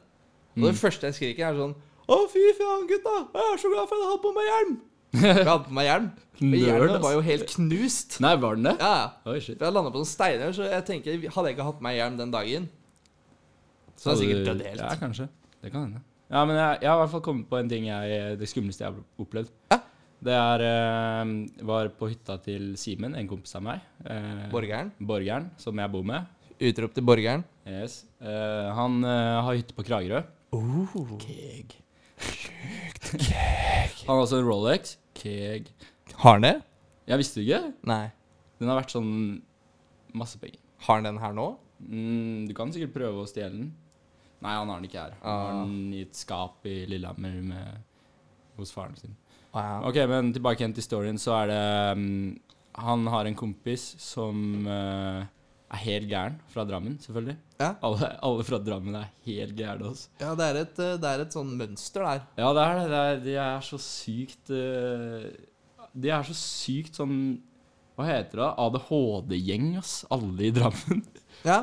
S4: Og det første jeg skriker, er sånn Å, fy faen, gutta! Jeg er så glad for at jeg hadde på meg hjelm!
S3: <laughs>
S4: For jeg hadde på meg hjelm. Og
S3: Nerd,
S4: hjelmen
S3: ass.
S4: var jo helt knust.
S3: Nei, var den det?
S4: Ja,
S3: Oi, shit.
S4: for jeg landa på noen steiner, så jeg tenker, hadde jeg ikke hatt på meg hjelm den dagen Så hadde jeg sikkert dødd
S3: Ja,
S4: helt.
S3: kanskje. Det kan hende. Ja, men jeg, jeg har i hvert fall kommet på en ting jeg, det skumleste jeg har opplevd. Det er eh, Var på hytta til Simen, en kompis av meg. eh,
S4: Borgeren.
S3: Borgeren, som jeg bor med.
S4: Utrop til borgeren.
S3: Yes. Eh, han eh, har hytte på Kragerø. Keg. Han har også en Rolex. Keg.
S4: Har han det?
S3: Jeg visste ikke.
S4: Nei.
S3: Den har vært sånn masse penger.
S4: Har han den her nå?
S3: Mm, du kan sikkert prøve å stjele den. Nei, han har den ikke her. Han har
S4: Ah.
S3: den i et skap i Lillehammer med, hos faren sin.
S4: Wow.
S3: Ok, men tilbake igjen til storyen, så er det mm, Han har en kompis som eh, er helt gæren fra Drammen, selvfølgelig.
S4: Ja.
S3: Alle, alle fra Drammen er helt gærne, altså.
S4: Ja, det er, et, eh, det er et sånn mønster der.
S3: Ja, det er det. det er, de er så sykt eh, De er så sykt sånn Hva heter det? ADHD-gjeng, ass. Alle i Drammen. <laughs>
S4: Ja.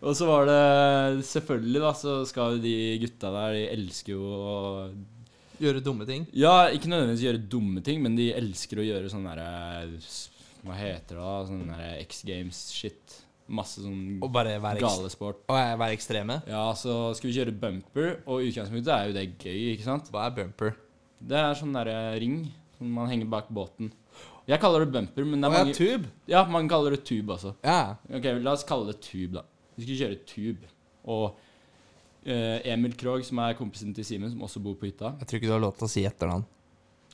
S3: Og så var det Selvfølgelig, da, så skal jo de gutta der De elsker jo å
S4: Gjøre dumme ting.
S3: Ja, ikke nødvendigvis gjøre dumme ting, men de elsker å gjøre sånn derre Hva heter det, da? Sånn derre X Games-shit. Masse sånn
S4: Og bare være, ekst
S3: galesport.
S4: og eh, være ekstreme.
S3: Ja, så skal vi kjøre bumper, og i utgangspunktet er jo det gøy, ikke sant?
S4: Hva er bumper?
S3: Det er sånn derre ring som man henger bak båten. Jeg kaller det bumper, men det er
S4: Å ja,
S3: mange
S4: tube.
S3: Ja, man kaller det tube, altså.
S4: Ja.
S3: Ok, la oss kalle det tube, da. Vi skulle kjøre tube. Og eh, Emil Krogh, som er kompisen til Simen, som også bor på hytta
S4: Jeg tror ikke du har lov til å si etternavn.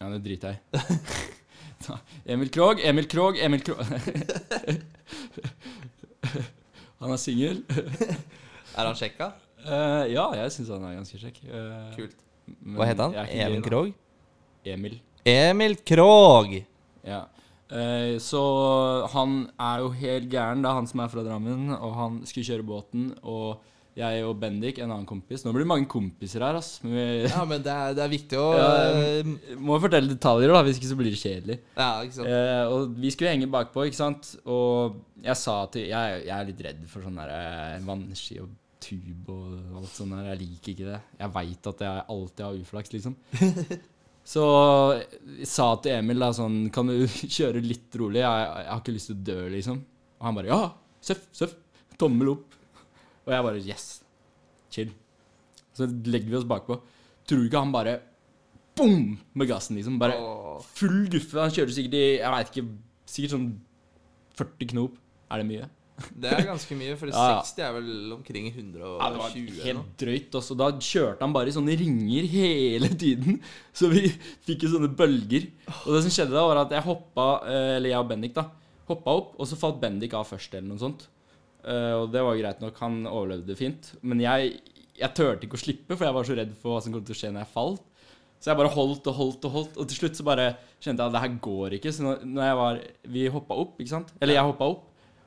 S3: Ja, det driter jeg
S4: <laughs>
S3: i. Emil Krogh, Emil Krogh, Emil Krogh <laughs> Han er singel.
S4: Er han sjekka?
S3: Eh, ja, jeg syns han er ganske kjekk. Eh,
S4: Kult.
S3: men
S4: Hva heter han?
S3: jeg er ikke gay,
S4: Even
S3: da.
S4: Krogh?
S3: Emil.
S4: Emil Krogh!
S3: Ja. Eh, så han er jo helt gæren, da, han som er fra Drammen, og han skulle kjøre båten, og jeg og Bendik, en annen kompis Nå blir det mange kompiser her, ass. Men vi
S4: Ja, men det er, det er viktig å
S3: Ja, <laughs> må fortelle detaljer, da, hvis ikke så blir det kjedelig.
S4: Ja, ikke sant.
S3: Eh, og vi skulle henge bakpå, ikke sant. Og jeg sa til Jeg, jeg er litt redd for sånn der eh, vannski og tube og alt sånt der. Jeg liker ikke det. Jeg veit at jeg alltid har uflaks,
S4: <laughs>
S3: liksom. Så jeg sa til Emil da sånn Kan du <laughs> kjøre litt rolig? Jeg, jeg har ikke lyst til å dø, liksom. Og han bare Ja! Søff, søff. Tommel opp. Og jeg bare Yes. Chill. Så legger vi oss bakpå. Tror du ikke han bare Boom! Med gassen, liksom. Bare
S4: Åh.
S3: Full guffe. Han kjørte sikkert i jeg vet ikke, sikkert sånn 40 knop. Er det mye?
S4: Det er ganske mye,
S3: <laughs>
S4: for
S3: Ja, ja.
S4: 60 er vel omkring 120
S3: Ja, det var
S4: eller
S3: helt
S4: noe.
S3: drøyt. Også. Da kjørte han bare i sånne ringer hele tiden. Så vi fikk jo sånne bølger. Og det som skjedde da, var at jeg hoppa, eh, eller jeg og Bendik, da, hoppa opp, og så falt Bendik av først, eller noe sånt. Eh, Og det var jo greit nok. Han overlevde det fint. Men jeg, jeg turte ikke å slippe, for jeg var så redd for hva som kom til å skje når jeg falt. Så jeg bare holdt og holdt og holdt, og til slutt så bare kjente jeg at det her går ikke. Så når- når jeg var Vi hoppa opp, ikke sant? Eller jeg hoppa opp.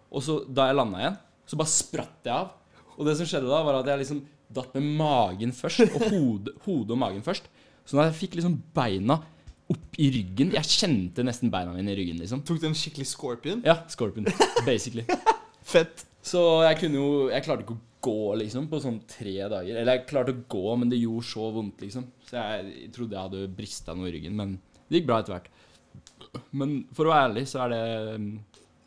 S3: Og så da jeg landa igjen, så bare spratt jeg av. Og det som skjedde da, var at jeg liksom datt med magen først, og hodet hodet og magen først. Så da jeg fikk liksom beina opp i ryggen Jeg kjente nesten beina mine i ryggen, liksom.
S4: Tok du en skikkelig scorpion?
S3: Ja, Scorpion, basically.
S4: Fett.
S3: Så jeg kunne jo Jeg klarte ikke å gå liksom på sånn tre dager. Eller jeg klarte å gå, men det gjorde så vondt, liksom. Så jeg trodde jeg hadde brista noe i ryggen, men det gikk bra etter hvert. Men for å være ærlig, så er det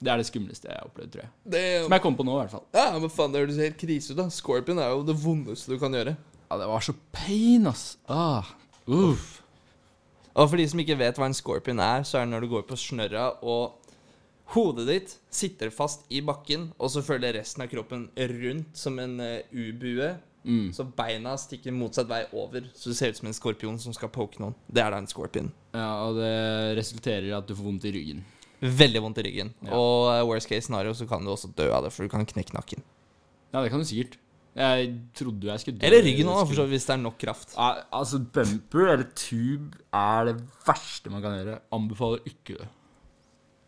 S3: Det er det skumleste jeg har opplevd, tror jeg.
S4: Det,
S3: Som jeg kom på nå, i hvert fall.
S4: ja, men faen, det høres helt krise ut, da. Scorpion er jo det vondeste du kan gjøre.
S3: Ja, det var så pain, ass. Ah, uff.
S4: Og for de som ikke vet hva en scorpion er, så er det når du går på snørra og hodet ditt sitter fast i bakken, og så følger resten av kroppen rundt som en eh, U-bue. Så beina stikker motsatt vei over, så du ser ut som en skorpion som skal poke noen. Det er da en scorpion.
S3: Ja, og det resulterer i at du får vondt i ryggen.
S4: Veldig vondt i ryggen. Og eh, worst case scenario så kan du også dø av det, for du kan knekke nakken.
S3: Ja, det kan du sikkert. Jeg trodde jeg skulle dø.
S4: Eller ryggen òg, for så vidt, hvis det er nok kraft.
S3: Ja, altså, bumper eller tube er det verste man kan gjøre. Anbefaler ikke det.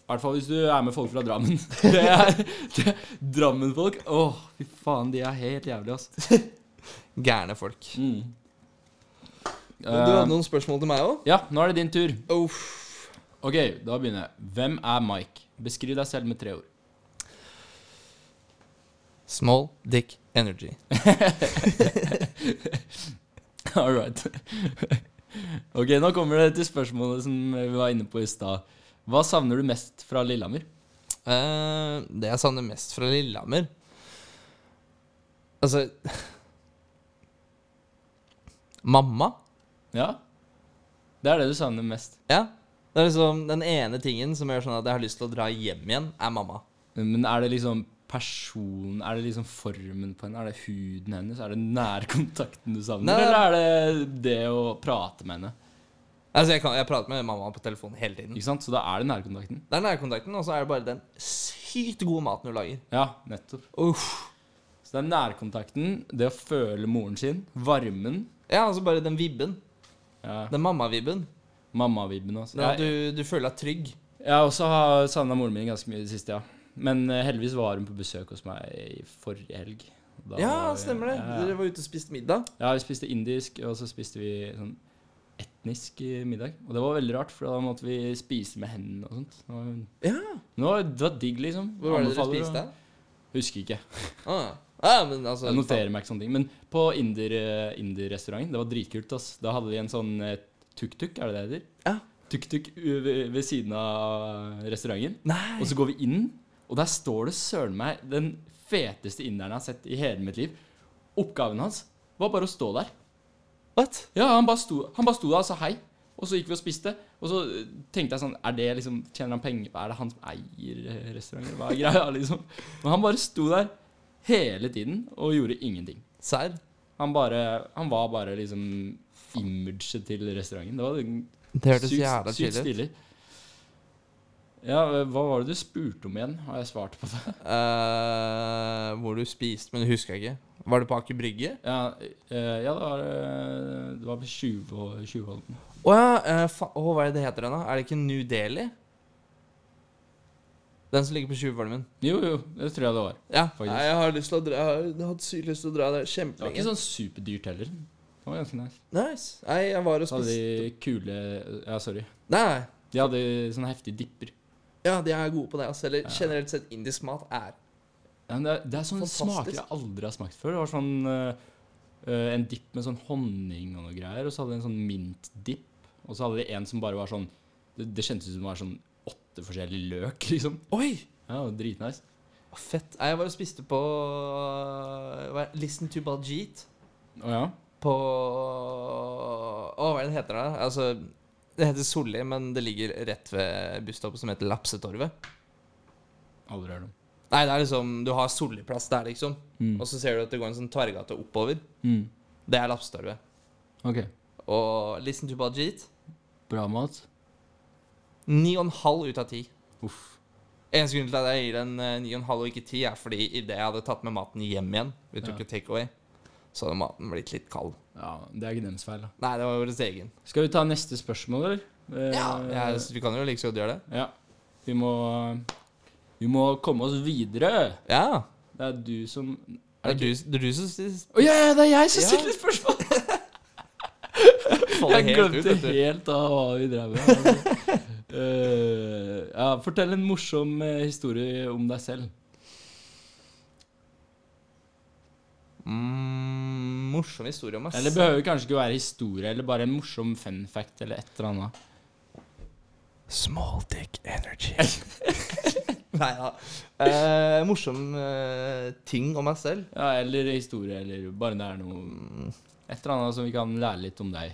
S3: I hvert fall hvis du er med folk fra <laughs> Drammen. Det er, det er Drammen-folk. Åh, fy faen, de er helt jævlige, <laughs> ass.
S4: Gærne folk. Men Mm. Du
S3: Eh,
S4: hadde noen spørsmål til meg òg?
S3: ja, nå er det din tur.
S4: Uff.
S3: Ok, da begynner jeg. Hvem er Mike? Beskriv deg selv med tre ord.
S4: Small dick energy.
S3: <laughs> All right. <laughs> Ok, nå kommer det til spørsmålet som vi var inne på i stad. Hva savner du mest fra Lillehammer?
S4: Eh, det jeg savner mest fra Lillehammer Altså <laughs> Mamma?
S3: Ja? Det er det du savner mest.
S4: Ja. Det er liksom Den ene tingen som gjør sånn at jeg har lyst til å dra hjem igjen, er mamma.
S3: Men er det liksom personen Er det liksom formen på henne? Er det huden hennes? Er det nærkontakten du savner?
S4: Nei.
S3: Eller er det det å prate med henne?
S4: Altså Jeg, kan, jeg prater med mamma på telefonen hele tiden.
S3: Ikke sant? Så da er det nærkontakten.
S4: Det er nærkontakten, og så er det bare den sykt gode maten hun lager.
S3: Ja, nettopp.
S4: Uff.
S3: Så det er nærkontakten, det å føle moren sin, varmen,
S4: Ja, altså bare den vibben.
S3: ja,
S4: Den mamma-vibben.
S3: mammavibben også.
S4: Den
S3: Jeg,
S4: at du, du føler deg trygg.
S3: jeg har også savna moren min ganske mye i det siste, ja. Men eh, heldigvis var hun på besøk hos meg i forrige helg. Da
S4: Ja,
S3: var vi-
S4: stemmer det.
S3: Ja,
S4: Dere
S3: ja.
S4: var ute og spiste middag.
S3: Ja, vi spiste indisk, og så spiste vi sånn etnisk eh, middag. Og det var veldig rart, for da måtte vi spise med hendene og sånt. Det var,
S4: Ja.
S3: det var, det var digg, liksom.
S4: Hvor var det dere
S3: Anbefaler å-
S4: spiste?
S3: Husker ikke.
S4: Ah. Ah, men altså,
S3: Jeg noterer meg ikke sånne ting. Men på inder- eh, inderrestauranten, det var dritkult, ass. Da hadde de en sånn eh, tuk-tuk, er det det heter?
S4: Ja.
S3: Tuk-tuk u- ved ved siden av restauranten.
S4: Nei.
S3: Og så går vi inn, og der står det søren meg den feteste inderen jeg har sett i hele mitt liv. Oppgaven hans var bare å stå der.
S4: What?
S3: Ja, han bare sto, han bare sto der og sa hei. Og så gikk vi og spiste. Og så eh, tenkte jeg sånn Er det liksom Tjener han penger på Er det han som eier eh, restauranten? Hva er greia, <laughs> liksom? Men han bare sto der hele tiden og gjorde ingenting.
S4: Serr?
S3: Han bare Han var bare liksom imaget til restauranten. Det var
S4: Det hørtes jævla
S3: sykt
S4: chill ut.
S3: stilig. Ja, eh, hva var det du spurte om igjen? Har jeg svart på det?
S4: Eh, hvor du spiste, men det husker jeg ikke. Var det på Aker Brygge?
S3: Ja, eh, ja det var eh, Det var på 20 20-holden.
S4: Å ja, eh, fa å, hva er det det heter den da? Er det ikke New Delhi? Den som ligger på Tjuvholmen.
S3: Jo, jo, det tror jeg det var.
S4: Ja,
S3: Faktisk.
S4: nei, jeg har lyst til å dra Jeg har jeg har hatt sykt lyst til å dra der
S3: Det var ikke
S4: kjempelenge.
S3: sånn superdyrt heller. Det var ganske nice.
S4: Nice. Nei, jeg var og
S3: Så hadde
S4: spiste
S3: de kule Ja, sorry.
S4: Nei,
S3: De hadde sånne heftige dipper.
S4: ja, de er gode på det. Altså. Eller generelt sett, indisk mat er
S3: Ja, men det, er- det er sånne
S4: Fantastisk.
S3: smaker jeg aldri har smakt før. Det var sånn eh, eh, en dipp med sånn honning og noe greier, og så hadde de en sånn mintdipp. Og så hadde de en som bare var sånn Det, det kjentes ut som det var sånn åtte forskjellige løk, <laughs> liksom.
S4: Oi!
S3: Ja, det var Dritnice.
S4: Fett. Nei, jeg var og spiste på eh, hva er- Listen to Baljeet.
S3: Å ja.
S4: På Å, hva er det det heter da? Altså, det heter Solli, men det ligger rett ved busstoppet som heter Lapsetorvet.
S3: Aldri hørt om.
S4: Nei, det er liksom Du har Solliplass der, liksom.
S3: Mm.
S4: Og så ser du at det går en sånn tverrgate oppover.
S3: Mm.
S4: Det er Lapsetorvet.
S3: Ok.
S4: Og Listen to Baljeet
S3: Bra mat.
S4: Ni og en halv ut av ti.
S3: Uff.
S4: Eneste grunn til at jeg gir den eh, ni og en halv og ikke ti, er fordi idet jeg hadde tatt med maten hjem igjen, vi tok
S3: Ja.
S4: jo takeaway, så hadde maten blitt litt kald.
S3: Ja, det er ikke deres feil, da.
S4: Nei, det var vår egen.
S3: Skal vi ta neste spørsmål, eller? Eh,
S4: Ja, jeg, vi kan jo like så godt gjøre det.
S3: ja. Vi må Vi må komme oss videre.
S4: Ja.
S3: Det er du som
S4: Er det, du, det er du som
S3: <laughs>
S4: s-
S3: Å ja, ja, det er jeg
S4: Ja.
S3: som stiller spørsmål!
S4: faller
S3: Jeg
S4: helt ut,
S3: glemte
S4: vet du?
S3: helt av hva vi drev med. Eh, ja, fortell en morsom eh, historie om deg selv.
S4: Mm, morsom historie om meg.
S3: Eller det
S4: <laughs>
S3: behøver kanskje ikke være historie, eller bare en morsom fun fact eller et eller annet.
S4: Small dick energy. Nei da. morsom eh, ting om meg selv.
S3: Ja, Eller historie, eller bare det er noe Et eller annet som vi kan lære litt om deg.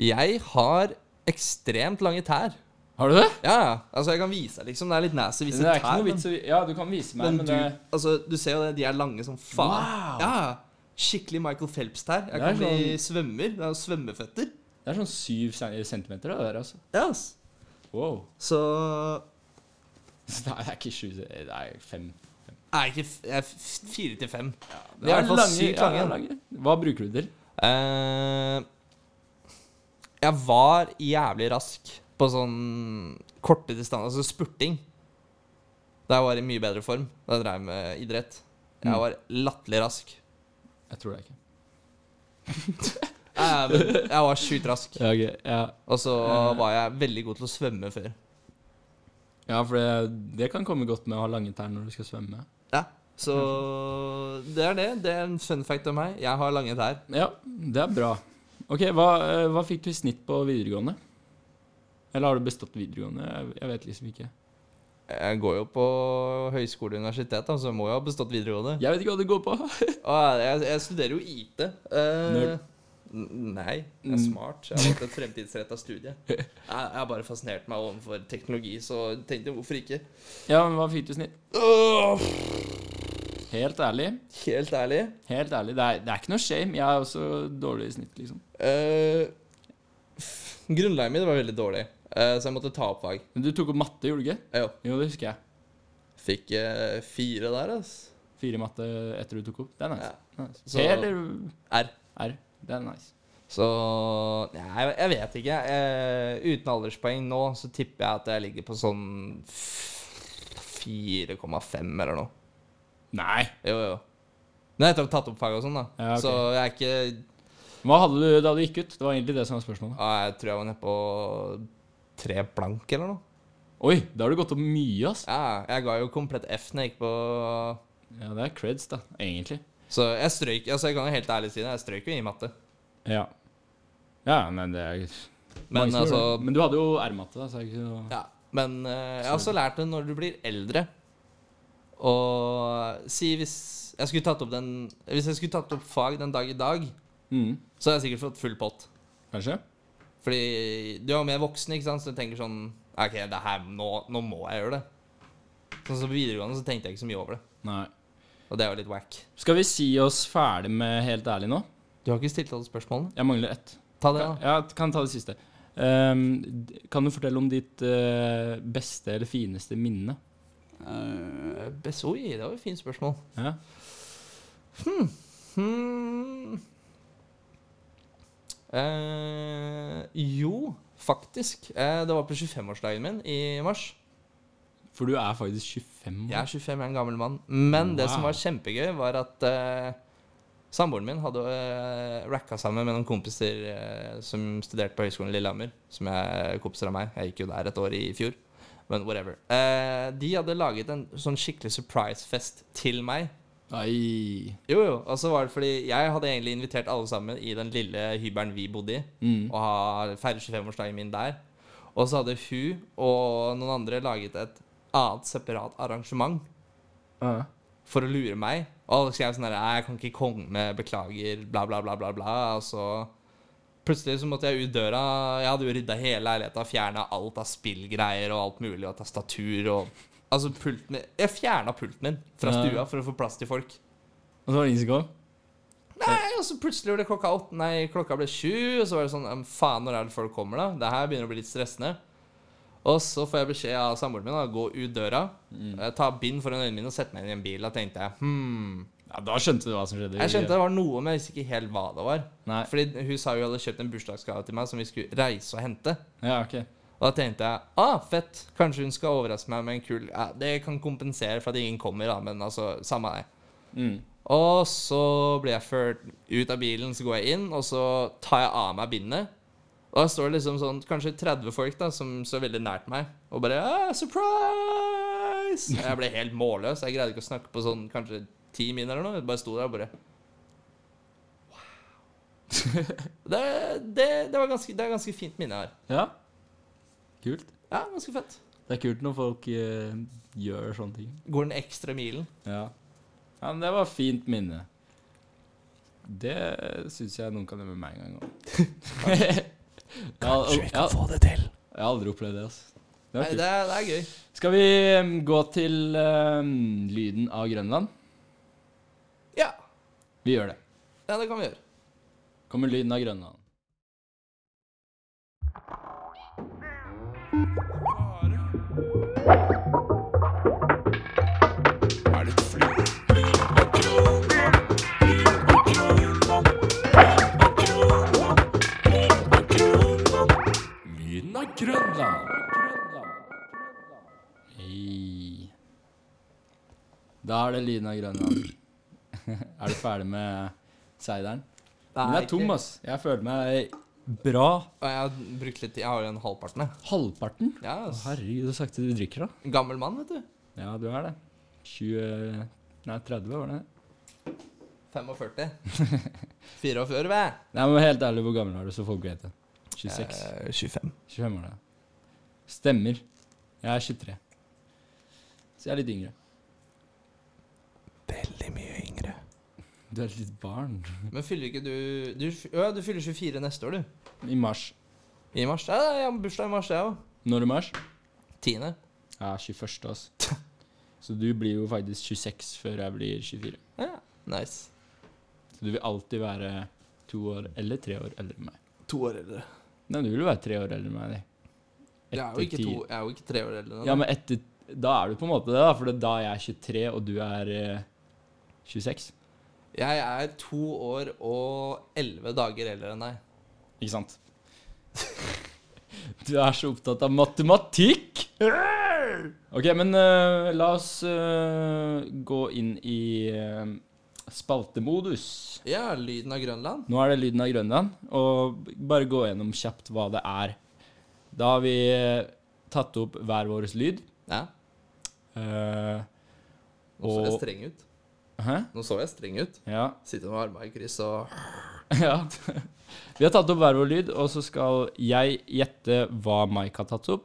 S4: Jeg har ekstremt lange tær.
S3: Har du det?
S4: Ja, ja. Altså, jeg kan vise deg, liksom. Det er litt nasty å
S3: Det
S4: vise
S3: er ikke
S4: tær.
S3: noe
S4: men-
S3: vits å Ja, du kan vise meg,
S4: Men
S3: men,
S4: du,
S3: det,
S4: altså, du ser jo det, de er lange som faen.
S3: Wow!
S4: Ja, skikkelig Michael Phelps der. Jeg
S3: Det er
S4: kan bli
S3: sånn-
S4: svømmer. Det er jo svømmeføtter.
S3: det er sånn syv cen- centimeter, det der, altså.
S4: Ja, ass.
S3: Wow. <laughs>
S4: Så
S3: Så det er ikke sju, det er fem.
S4: er jeg ikke f- jeg er f- fire til fem.
S3: Det
S4: i hvert fall sykt lange.
S3: Hva bruker du til?
S4: Eh, jeg var jævlig rask på sånn korte distanser, altså spurting. Da jeg var i mye bedre form, da jeg drev med idrett. Jeg
S3: Mm.
S4: var latterlig rask.
S3: Jeg tror det ikke.
S4: Jeg, Eh, jeg var sjukt rask.
S3: Ja, ok, ja.
S4: Og så var jeg veldig god til å svømme før.
S3: Ja, for det, det kan komme godt med å ha lange tær når du skal svømme.
S4: Ja, så det er det. Det er en fun fact om meg. Jeg har lange tær.
S3: Ja, det er bra. Ok, hva, eh, hva fikk du i snitt på videregående? Eller har du bestått videregående? Jeg, jeg vet liksom ikke.
S4: Jeg går jo på høyskole og universitet, da, så jeg må jo ha bestått videregående.
S3: Jeg vet ikke hva det går på. <laughs>
S4: Og jeg, jeg studerer jo IT. eh,
S3: Nerd.
S4: n- Nei, jeg er
S3: Mm.
S4: smart. Jeg har valgt et
S3: <laughs>
S4: fremtidsretta studie. Jeg, jeg har bare fascinert meg overfor teknologi, så jeg tenkte hvorfor ikke?
S3: Ja, men hva fikk du i snitt?
S4: Åh,
S3: Helt ærlig,
S4: helt ærlig
S3: helt ærlig. Det er, det er ikke noe shame. Jeg er også dårlig i snitt, liksom.
S4: eh, f- Grunnlaget mitt var veldig dårlig, eh, så jeg måtte ta opp fag.
S3: Men du tok opp matte, gjorde du ikke?
S4: Jeg jo,
S3: Jo, det husker jeg.
S4: fikk eh, fire der, altså.
S3: Fire i matte etter du tok opp. Det er nice. nice.
S4: Så-
S3: P eller
S4: R.
S3: R? Det er nice.
S4: Så Nei, jeg vet ikke. Eh, uten alderspoeng nå, så tipper jeg at jeg ligger på sånn f- 4,5 eller noe.
S3: Nei.
S4: Jo, jo. Men etter å ha tatt opp fag og sånn, da.
S3: Ja, ok.
S4: Så jeg er ikke
S3: Hva hadde du da du gikk ut? Det var egentlig det som var spørsmålet.
S4: ja, ah, Jeg tror jeg var nede på tre blank eller noe.
S3: Oi, da har du gått opp mye, ass.
S4: Ja, jeg ga jo komplett F når jeg gikk på
S3: Ja, det er creds, da. Egentlig.
S4: Så jeg strøyk Altså, jeg kan jo helt ærlig si det, jeg strøyk jo i matte.
S3: Ja. Ja, men det er
S4: Men altså
S3: Men du hadde jo R-matte, da, så er det ikke så
S4: Ja. Men eh, jeg har også lært det når du blir eldre. Og si hvis jeg skulle tatt opp den Hvis jeg skulle tatt opp fag den dag i dag,
S3: mm,
S4: så hadde jeg sikkert fått full pott.
S3: Kanskje?
S4: Fordi du er jo mer voksen, ikke sant, så du tenker sånn OK, det her, nå, nå må jeg gjøre det. Sånn som på videregående så tenkte jeg ikke så mye over det.
S3: Nei.
S4: Og det er jo litt wack.
S3: Skal vi si oss ferdig med Helt ærlig nå?
S4: Du har ikke stilt alle spørsmålene?
S3: Jeg mangler ett.
S4: Ta det, da.
S3: Ja, kan ta det siste. Ehm, d- kan du fortelle om ditt eh, beste eller fineste minne?
S4: Eh, bes- Oi, det var et fint spørsmål.
S3: Ja?
S4: Hmm. Eh, jo, faktisk. Eh, det var på 25-årsdagen min i mars.
S3: For du er faktisk 25 år.
S4: Jeg er 25, jeg er en gammel mann. Men det som
S3: Wow.
S4: var kjempegøy, var at eh, samboeren min hadde eh, racka sammen med noen kompiser eh, som studerte på Høgskolen i Lillehammer. Som er kompiser av meg. Jeg gikk jo der et år i fjor. Men whatever. Eh, de hadde laget en sånn skikkelig surprise-fest til meg.
S3: Ai.
S4: Jo, jo. Og så var det fordi jeg hadde egentlig invitert alle sammen i den lille hybelen vi bodde i,
S3: Mm.
S4: og ha- feire 25-årsdagen min der. Og så hadde hun og noen andre laget et annet separat arrangement
S3: Ja.
S4: for å lure meg. Og alle skrev sånn her «Nei, 'Jeg kan ikke komme, beklager', bla, bla, bla, bla, bla. Og så plutselig så måtte jeg ut døra. Jeg hadde jo rydda hele leiligheta, fjerna alt av spillgreier og alt mulig, og tastatur og Altså pulten min Jeg fjerna pulten min fra
S3: Ja.
S4: stua for å få plass til folk.
S3: Og så var det ingen som kom?
S4: Nei, og så plutselig ble det klokka åtte Nei, klokka ble sju Og så var det sånn, «Ja, men faen når er det folk kommer da? Det her begynner å bli litt stressende Og så får jeg beskjed av samboeren min da Gå ut døra eh, Ta bind foran øynene mine og sette meg inn i en bil Da tenkte jeg, hmm
S3: Ja, da skjønte du hva som skjedde.
S4: Jeg skjønte det var noe, men jeg visste ikke helt hva det var
S3: Nei.
S4: Fordi hun sa hun hadde kjøpt en bursdagsgave til meg Som vi skulle reise og hente
S3: Ja, ok.
S4: og da tenkte jeg, ah, fett, kanskje hun skal overraske meg med en kul ja, Det kan kompensere for at ingen kommer, da, men altså, samme det.
S3: Mm.
S4: Og så blir jeg ført ut av bilen, så går jeg inn, og så tar jeg av meg bindet. Og da står det liksom sånn kanskje 30 folk da, som står veldig nært meg, og bare ah, 'Surprise!' Jeg ble helt målløs. Jeg greide ikke å snakke på sånn kanskje ti min eller noe. Jeg bare sto der og bare Wow. <laughs> Det, det, det, var ganske, det er ganske fint minne jeg har.
S3: Ja. Kult.
S4: Ja, ganske fett.
S3: Det er kult når folk eh, gjør sånne ting.
S4: Går den ekstra milen.
S3: Ja. ja, men det var fint minne. Det syns jeg noen kan gjøre med meg en gang òg. <laughs> Kanskje vi kan få det til. Jeg har aldri opplevd det. Altså. Det var
S4: Nei,
S3: kult.
S4: det, er- det er gøy.
S3: Skal vi eh, gå til eh, lyden av Grønland?
S4: Ja,
S3: Vi gjør det.
S4: ja, det kan vi gjøre.
S3: Kommer lyden av Grønland.
S1: Lyden av Grønland.
S3: Hei. Da er det lyden av Grønland. <laughs> er du ferdig med seideren? Den er tom, ass. Jeg føler meg bra.
S4: Og jeg har brukt litt tid. Jeg har jo en halvparten, jeg.
S3: Halvparten?
S4: Ja, ass.
S3: Herregud, så sakte du drikker, da.
S4: Gammel mann, vet du.
S3: Ja, du er det. 20 Nei, 30, var det?
S4: <laughs> 45. 44, hva?
S3: Nei, men helt ærlig, hvor gammel er du, så folk vet det? 26?
S4: Eh. 25.
S3: 25 år, da. Stemmer. Jeg er 23. Så jeg er litt yngre.
S4: Veldig mye yngre.
S3: Du er et litt barn.
S4: Men fyller ikke du Du, f- ja, du fyller 24 neste år, du.
S3: I mars.
S4: I mars. Ja, jeg har bursdag i mars, jeg òg.
S3: Når i mars?
S4: Tiende.
S3: Jeg er 21, altså. Så du blir jo faktisk 26 før jeg blir 24.
S4: Ja, nice.
S3: Så du vil alltid være to år eller tre år eldre enn meg.
S4: To år eldre.
S3: Nei, du vil jo være tre år eldre enn meg. du.
S4: Jeg er jo
S3: Etter
S4: ikke,
S3: ti-
S4: to, jeg er jo ikke tre år eldre. nå,
S3: Ja,
S4: da.
S3: men etter Da er du på en måte det, da. For det er da jeg er 23, og du er eh, 26.
S4: Jeg er to år og elleve dager eldre enn deg.
S3: Ikke sant? <laughs> Du er så opptatt av matematikk! Ok, men eh, la oss eh, gå inn i eh, spaltemodus.
S4: Ja, lyden av Grønland.
S3: Nå er det lyden av Grønland, og bare gå gjennom kjapt hva det er. Da har vi eh, tatt opp hver vår lyd.
S4: Ja.
S3: eh,
S4: Nå så jeg
S3: og
S4: streng ut.
S3: Hæ?
S4: Nå så jeg streng ut.
S3: Ja. <laughs>
S4: Sitter med armene i kryss og
S3: ja. Vi har tatt opp hver vår lyd, og så skal jeg gjette hva Mike har tatt opp.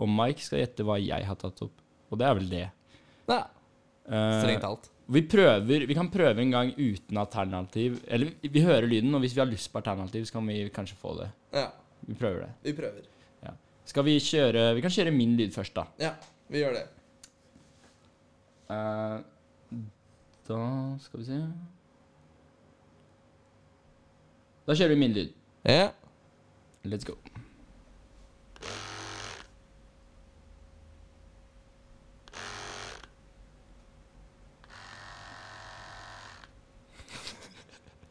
S3: Og Mike skal gjette hva jeg har tatt opp. Og det er vel det.
S4: Ja,
S3: Eh,
S4: strengt talt.
S3: vi prøver, vi kan prøve en gang uten alternativ. Eller vi, vi hører lyden, og hvis vi har lyst på alternativ, så kan vi kanskje få det.
S4: Ja,
S3: Vi prøver det.
S4: vi prøver.
S3: Skal vi kjøre Vi kan kjøre min lyd først, da.
S4: Ja, vi gjør det.
S3: Eh, da skal vi se Da kjører vi min lyd.
S4: Ja.
S3: Let's go.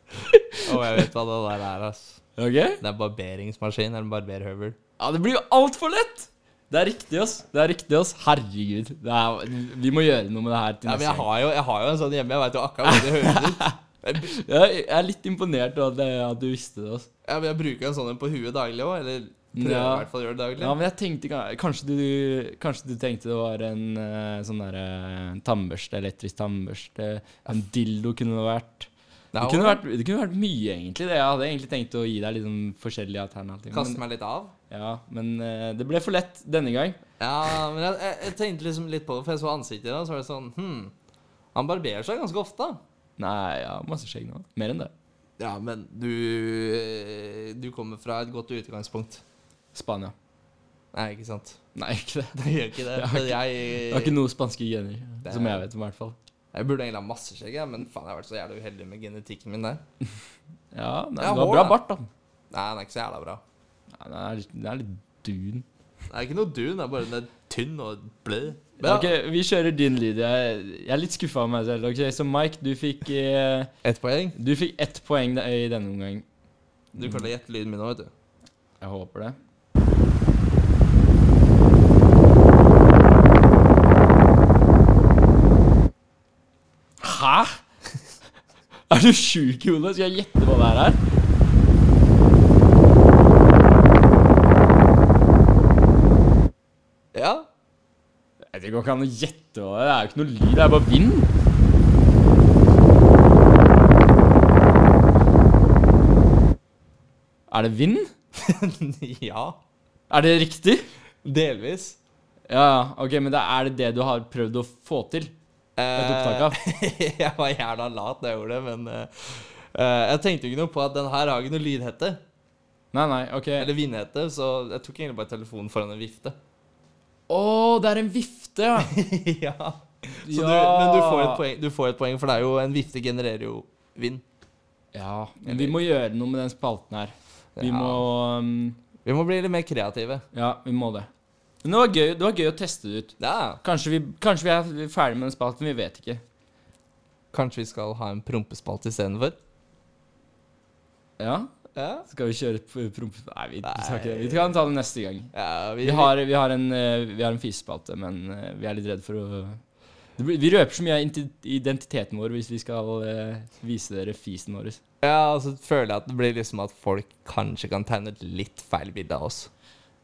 S4: Å, jeg vet hva det der er, ass.
S3: Ok?
S4: Det er barberingsmaskin eller barberhøvel.
S3: Ja, det blir jo altfor lett! Det er riktig, ass. Det er riktig, ass. Herregud. Det er, vi må gjøre noe med det her til
S4: Ja, men jeg
S3: gang.
S4: har, jo, jeg har jo en sånn hjemme, jeg veit jo akkurat hvor det høres ut.
S3: Jeg, jeg er litt imponert over at, det- at du visste det, ass.
S4: Ja, men jeg bruker en sånn en på huet daglig òg, eller prøver
S3: Ja.
S4: i hvert fall å gjøre det daglig.
S3: Ja, men jeg tenkte ka- Kanskje du, kanskje du tenkte det var en eh, sånn derre tannbørste, elektrisk tannbørste. En dildo kunne det vært. Det
S4: Ja,
S3: kunne
S4: og
S3: vært, det kunne vært mye, egentlig. Det. Jeg hadde egentlig tenkt å gi deg litt sånn forskjellige alternativer.
S4: Kaste
S3: Men,
S4: meg litt av.
S3: ja, men eh, det ble for lett denne gang.
S4: Ja, men jeg, jeg, jeg tenkte liksom litt på det, for jeg så ansiktet i det, og så var det sånn Hm, han barberer seg ganske ofte.
S3: Nei, ja, masse skjegg nå. Mer enn det.
S4: Ja, men du Du kommer fra et godt utgangspunkt.
S3: Spania.
S4: Nei, ikke sant? <laughs>
S3: Nei, ikke det.
S4: Det gjør ikke det.
S3: Jeg har
S4: men
S3: ikke-
S4: Jeg,
S3: Det var ikke noe spanske gener,
S4: Det er-
S3: som jeg vet om, i hvert fall.
S4: jeg burde egentlig ha masse skjegg, jeg, men faen, jeg har vært så jævlig uheldig med genetikken min der.
S3: Ja, nei,
S4: Ja,
S3: det var
S4: hår,
S3: bra
S4: da.
S3: bart, da.
S4: Nei, den er ikke så jævla bra.
S3: Nei, den er, litt- den er litt dun.
S4: Det er ikke noe dun, det er bare den er tynn og blød. Men
S3: Ok, vi kjører din lyd. Jeg, jeg er litt skuffa av meg selv. Ok, Så Mike, du fikk, eh,
S4: Ett poeng.
S3: du fikk ett poeng da- i denne omgang.
S4: Du klarte å gjette lyden min nå, vet du.
S3: Jeg håper det. Hæ?! <laughs> Er du sjuk i hodet? Skal jeg gjette hva det her er?
S4: Ja.
S3: Nei, Det går ikke an å gjette hva det er. Det er jo ikke noe lyd, det er bare vind. Er det vind?
S4: <laughs> ja.
S3: Er det riktig?
S4: Delvis.
S3: Ja, ja, ok, men da er det det du har prøvd å få til? Et opptak av?
S4: Eh, <laughs> jeg var jævla lat da jeg gjorde det, men eh, eh, jeg tenkte jo ikke noe på at den her har ikke noe lydhette.
S3: Nei, nei, ok.
S4: Eller vindhette, så jeg tok egentlig bare telefonen foran en vifte.
S3: Å, det er en vifte, <laughs> ja!
S4: <laughs> ja. Så Du, men du får, et poeng, du får et poeng, for det er jo en vifte genererer jo vind.
S3: Ja, men vi må gjøre noe med den spalten her. Vi
S4: Ja.
S3: må um,
S4: Vi må bli litt mer kreative.
S3: Ja, vi må det. Men det var gøy, det var gøy å teste det ut.
S4: Ja.
S3: Kanskje vi, kanskje vi er ferdig med den spalten, vi vet ikke.
S4: Kanskje vi skal ha en prompespalte istedenfor?
S3: Ja?
S4: Ja.
S3: Skal vi kjøre p- promp... Nei, vi, vi skal ikke det. Vi kan ta det neste gang.
S4: ja vi,
S3: Vi har, vi har en, eh, vi har en fisespalte, men eh, vi er litt redd for å det blir, Vi røper så mye av inti- identiteten vår hvis vi skal eh, vise dere fisen vår.
S4: Ja, og så føler jeg at det blir liksom at folk kanskje kan tegne et litt feil bilde av oss.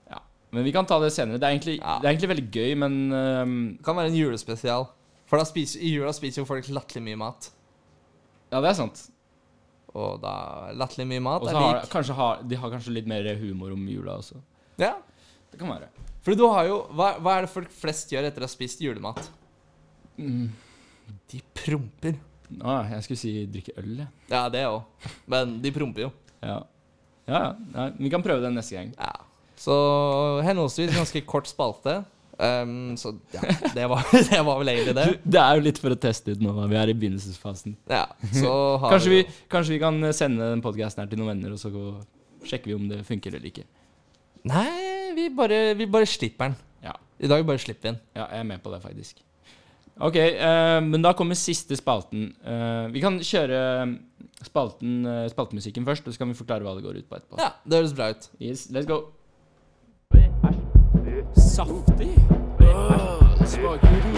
S3: Ja. Men vi kan ta det senere. Det er egentlig,
S4: Ja.
S3: det er egentlig veldig gøy, men eh,
S4: Det kan være en julespesial. For da spiser, i jula spiser jo folk latterlig mye mat.
S3: Ja, det er sant.
S4: Og da latterlig mye mat
S3: Og så
S4: er
S3: har
S4: lik
S3: kanskje har, de har kanskje litt mer humor om jula også.
S4: Ja.
S3: Det kan være.
S4: For du har jo hva, hva er det folk flest gjør etter å ha spist julemat?
S3: Mm.
S4: De promper.
S3: Ah, jeg skulle si drikke øl, jeg.
S4: Ja, det òg. Men de promper jo.
S3: Ja. Ja, ja. Nei, vi kan prøve det neste gang.
S4: Ja. Så henholdsvis ganske kort spalte. Ehm, så ja, det var, <laughs> det var vel egentlig det.
S3: Det er jo litt for å teste ut nå, da. Vi er i begynnelsesfasen.
S4: Ja, så har
S3: Kanskje vi,
S4: jo-
S3: kanskje vi kan eh, sende den podcasten her til noen venner, og så gå- sjekker vi om det funker eller ikke.
S4: Nei, vi bare, vi bare slipper den.
S3: Ja,
S4: I dag bare slipper vi den.
S3: ja jeg er med på det, faktisk. Ok, eh, men da kommer siste spalten. Eh, vi kan kjøre eh, spalten, eh, spaltemusikken først, og så kan vi forklare hva det går ut på etterpå.
S4: Ja, det høres bra ut.
S3: Yes, let's go.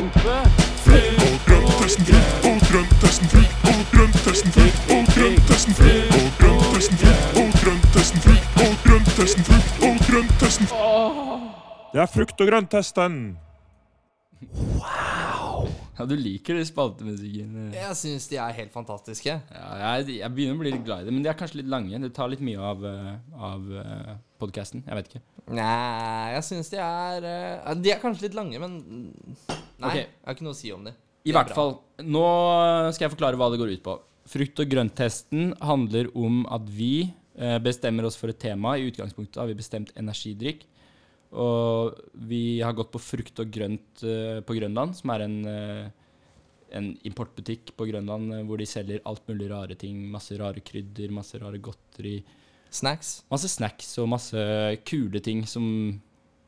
S2: og grønn, testen fri, og grønn, testen fri, og grønn, testen fri, og grønn, testen fri, og grønn, testen fri, og grønn, testen fri, og grønn, testen fri, og grønn, testen fri.
S5: Det er frukt- og grønntesten.
S3: Ja, du liker det spaltemusikken. eh.
S4: Jeg syns de er helt fantastiske.
S3: Ja, jeg, jeg begynner å bli litt glad i det, men de er kanskje litt lange. Det tar litt mye av, eh, av eh, podcasten. Jeg vet ikke.
S4: Nei, jeg syns de er eh, De er kanskje litt lange, men Nei,
S3: Ok.
S4: jeg har ikke noe å si om de.
S3: I
S4: Det er
S3: hvert
S4: bra.
S3: fall. Nå skal jeg forklare hva det går ut på. Frukt- og grønttesten handler om at vi eh, bestemmer oss for et tema. I utgangspunktet har vi bestemt energidrikk. Og vi har gått på frukt og grønt eh, på Grønland, som er en, eh, en importbutikk på Grønland eh, hvor de selger alt mulig rare ting. Masse rare krydder, masse rare godteri.
S4: Snacks.
S3: Masse snacks og masse kule ting som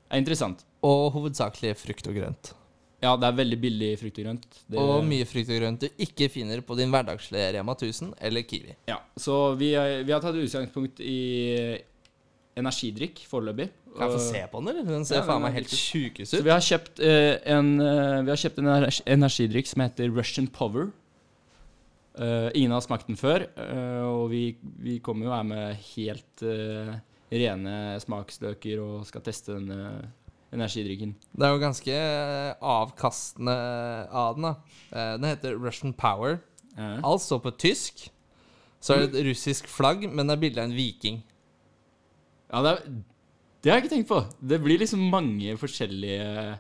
S3: er interessant.
S4: Og hovedsakelig frukt og grønt.
S3: Ja, det er veldig billig frukt og grønt. Det,
S4: Og mye frukt og grønt du ikke finner på din hverdagslige Rema 1000 eller Kiwi.
S3: Ja, så vi, er- vi har tatt utgangspunkt i energidrikk foreløpig.
S4: Kan jeg få
S3: Og-
S4: se på den, eller? Den ser
S3: Øh, Ja, den
S4: faen
S3: er
S4: meg helt
S3: helt
S4: sjukest
S3: Så
S4: ut.
S3: vi har kjøpt eh, en, eh, vi har kjøpt en energi- energidrikk som heter Russian Power. Eh, ingen har smakt den før, eh, og vi, vi kommer jo her med helt eh, rene smaksløker og skal teste denne energidrikken.
S4: Det er jo ganske øh, avkastende øh, av den, da. Eh, Den heter Russian Power.
S3: Ja.
S4: Altså på tysk så er det et russisk flagg, men det er bilde av en viking.
S3: Ja, det, er, det har jeg ikke tenkt på. Det blir liksom mange forskjellige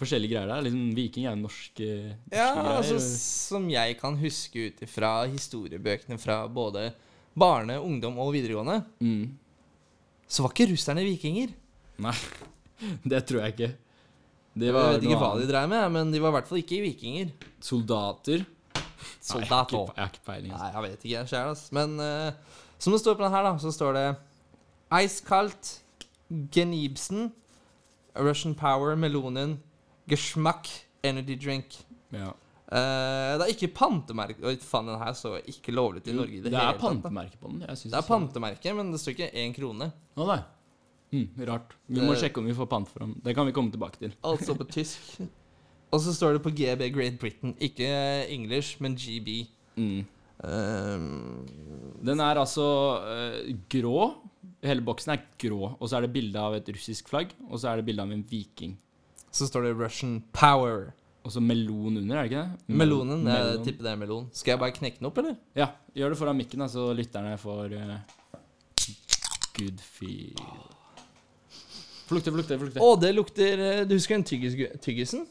S3: Forskjellige greier der. Liksom Viking er jo norske, norske
S4: Ja,
S3: greier.
S4: altså som jeg kan huske ut ifra historiebøkene fra både barne, ungdom og videregående,
S3: Mm.
S4: så var ikke russerne vikinger.
S3: Nei, <laughs> det tror jeg ikke. Det
S4: Jeg
S3: var
S4: vet ikke
S3: noe
S4: hva de
S3: annet.
S4: dreier med, men de var i hvert fall ikke vikinger.
S3: Soldater. Nei, jeg har ikke-
S4: Soldater.
S3: Jeg har ikke peiling. Altså.
S4: Nei, jeg vet ikke sjæl, ass. Men eh, som det står på den her, da, så står det Iskaldt Genibsen Russian Power Melonen Geschmack Energy Drink.
S3: Ja.
S4: Eh, det er ikke pantemerke Oi, faen, den her så ikke lovlig ut i Norge i det,
S3: Det er
S4: hele tatt. da.
S3: pantemerke på den. Jeg synes sånn.
S4: Det er pantemerke, men det står ikke én
S3: <laughs>
S4: krone.
S3: Å, nei. Mm, rart. Vi må
S4: Det-
S3: sjekke om vi får pant for den. Det kan vi komme tilbake til.
S4: Altså på tysk. Og så står det på GB Great Britain. Ikke eh, English, men GB.
S3: Mm.
S4: Eh,
S3: Den er altså eh, grå. Hele boksen er grå, og så er det bilde av et russisk flagg, og så er det bilde av en viking.
S4: så står det Russian Power.
S3: Og så melon under, er det ikke det?
S4: Melonen. Jeg
S3: Melon.
S4: tipper det er melon. Skal jeg bare knekke den opp, eller?
S3: Ja, gjør det foran mikken, da, så lytterne får eh, good feel. Flukte, flukte, flukte.
S4: Å, det lukter eh, Du husker den tyggis, tyggisen?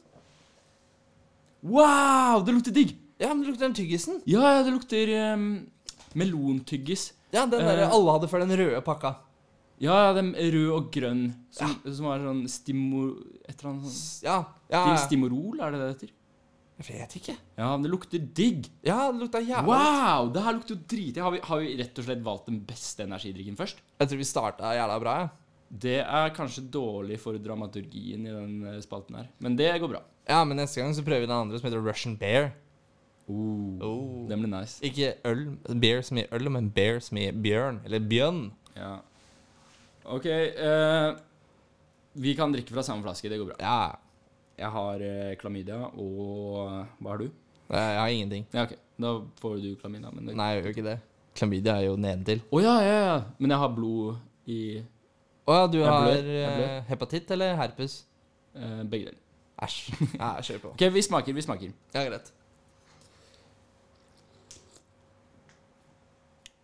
S3: Wow, det lukter digg!
S4: Ja, men det lukter den tyggisen.
S3: Ja, ja, det lukter ehm, em, melontyggis.
S4: Ja, den der
S3: Eh.
S4: alle hadde før den røde pakka.
S3: Ja, ja, den rød og grønn som, som er sånn stimo... Et eller annet sånt.
S4: Ja, ja.
S3: Til Stimorol, er det det det heter?
S4: Jeg vet ikke.
S3: Ja, men det lukter digg.
S4: Ja, det lukta jævla
S3: Wow, det her lukter jo dritdigg. Har, vi- har vi rett og slett valgt den beste energidrikken først?
S4: Jeg tror vi starta jævla bra. Ja.
S3: Det er kanskje dårlig for dramaturgien i den eh, spalten her, men det går bra.
S4: ja, men neste gang så prøver vi den andre som heter Russian Bear.
S3: Oh,
S4: Oh.
S3: Den ble nice.
S4: Ikke øl, bear som i øl, men bear som i bjørn. Eller bjørn.
S3: Ja. OK. eh, vi kan drikke fra samme flaske. Det går bra.
S4: Ja.
S3: Jeg har eh, klamydia og Hva har du?
S4: Nei, Jeg har ingenting.
S3: Ja, OK. Da får du klamydia. Men det
S4: Nei, jeg gjør jo ikke det. Klamydia er jo nedentil.
S3: Å ja, ja, ja. Men jeg har blod i
S4: Å ja, du
S3: Jeg
S4: har
S3: blør, jeg blør.
S4: eh, hepatitt eller herpes?
S3: eh, begge deler.
S4: Æsj. Ja, kjør <laughs> på.
S3: OK, vi smaker, vi smaker.
S4: Ja, greit.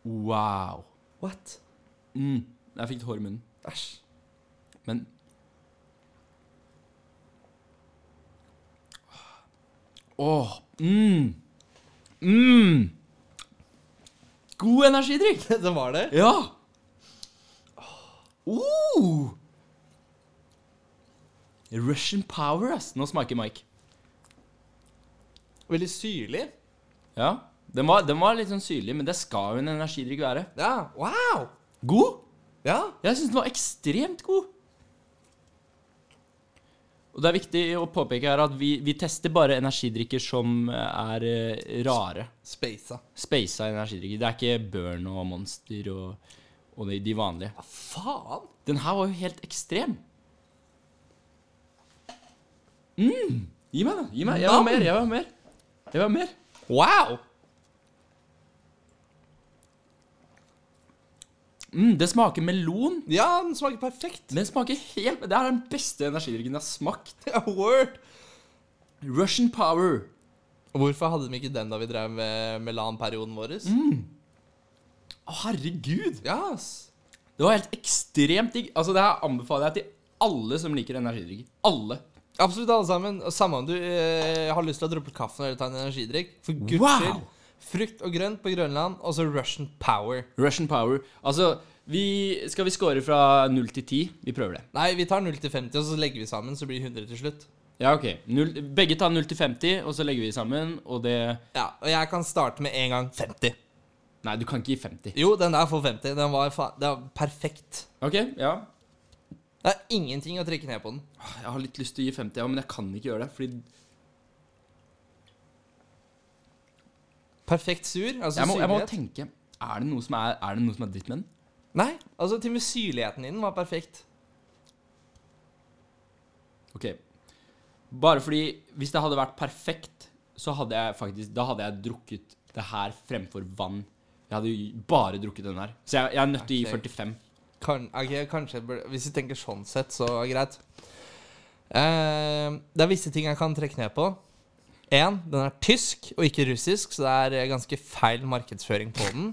S3: Wow.
S4: What?
S3: Mm. Jeg fikk et hår i munnen.
S4: Æsj.
S3: Men Åh. Mm. Mm. God energidrikk.
S4: <laughs> det var det?
S3: Ja. Oh. Russian power, ass. Nå smaker Mike.
S4: Veldig syrlig.
S3: Ja. Den var, den var litt sånn syrlig, men det skal jo en energidrikk være.
S4: Ja, wow!
S3: God?
S4: Ja,
S3: Jeg syns den var ekstremt god. Og det er viktig å påpeke her at vi, vi tester bare energidrikker som er eh, rare.
S4: spasa.
S3: Speisa energidrikker. Det er ikke Burn og Monster og, og de, de vanlige.
S4: Ja, faen!
S3: Den her var jo helt ekstrem. Mm. Mm. Gi meg, da. Gi meg. Jeg vil ha mer. Jeg vil ha mer. Jeg vil ha mer.
S4: Wow!
S3: Mm, det smaker melon.
S4: Ja, den smaker perfekt.
S3: Den smaker helt Det er den beste energidrikken jeg har smakt. <laughs>
S4: Ja, Word!
S3: Russian Power.
S4: Hvorfor hadde de ikke den da vi drev med Melan-perioden vår?
S3: Å, herregud.
S4: Ja, ass.
S3: Det var helt ekstremt digg. Altså, det her anbefaler jeg til alle som liker energidrikker. Alle.
S4: Absolutt alle sammen. Og Samme om du eh, har lyst til å droppe kaffen eller ta en energidrikk. For guds
S3: Wow!
S4: skyld. Frukt og grønt på Grønland, og så Russian Power.
S3: Russian power. Altså, vi, skal vi score fra 0 til 10? Vi prøver det.
S4: Nei, vi tar 0 til 50, og så legger vi sammen, så blir det 100 til slutt.
S3: Ja, ok. Null, begge tar 0 til 50, og så legger vi sammen, og det
S4: Ja, Og jeg kan starte med en gang 50.
S3: Nei, du kan ikke gi 50.
S4: Jo, den der får 50. Den var, fa den var perfekt.
S3: Ok, ja.
S4: Det er ingenting å trekke ned på den.
S3: Jeg har litt lyst til å gi 50, ja, men jeg kan ikke gjøre det. Fordi
S4: Perfekt sur. Altså
S3: jeg må, jeg må
S4: syrlighet.
S3: tenke Er det noe som er, er, det noe som er dritt med den?
S4: Nei, altså til og med syrligheten i den var perfekt.
S3: Ok. Bare fordi Hvis det hadde vært perfekt, så hadde jeg faktisk Da hadde jeg drukket det her fremfor vann. Jeg hadde jo bare drukket den her. Så jeg, jeg er nødt til å gi
S4: Ok.
S3: 45.
S4: Kan, ok, kanskje jeg burde- Hvis du tenker sånn sett, så er det greit. Eh, det er visse ting jeg kan trekke ned på. En, den er tysk og ikke russisk, så det er eh, ganske feil markedsføring på den.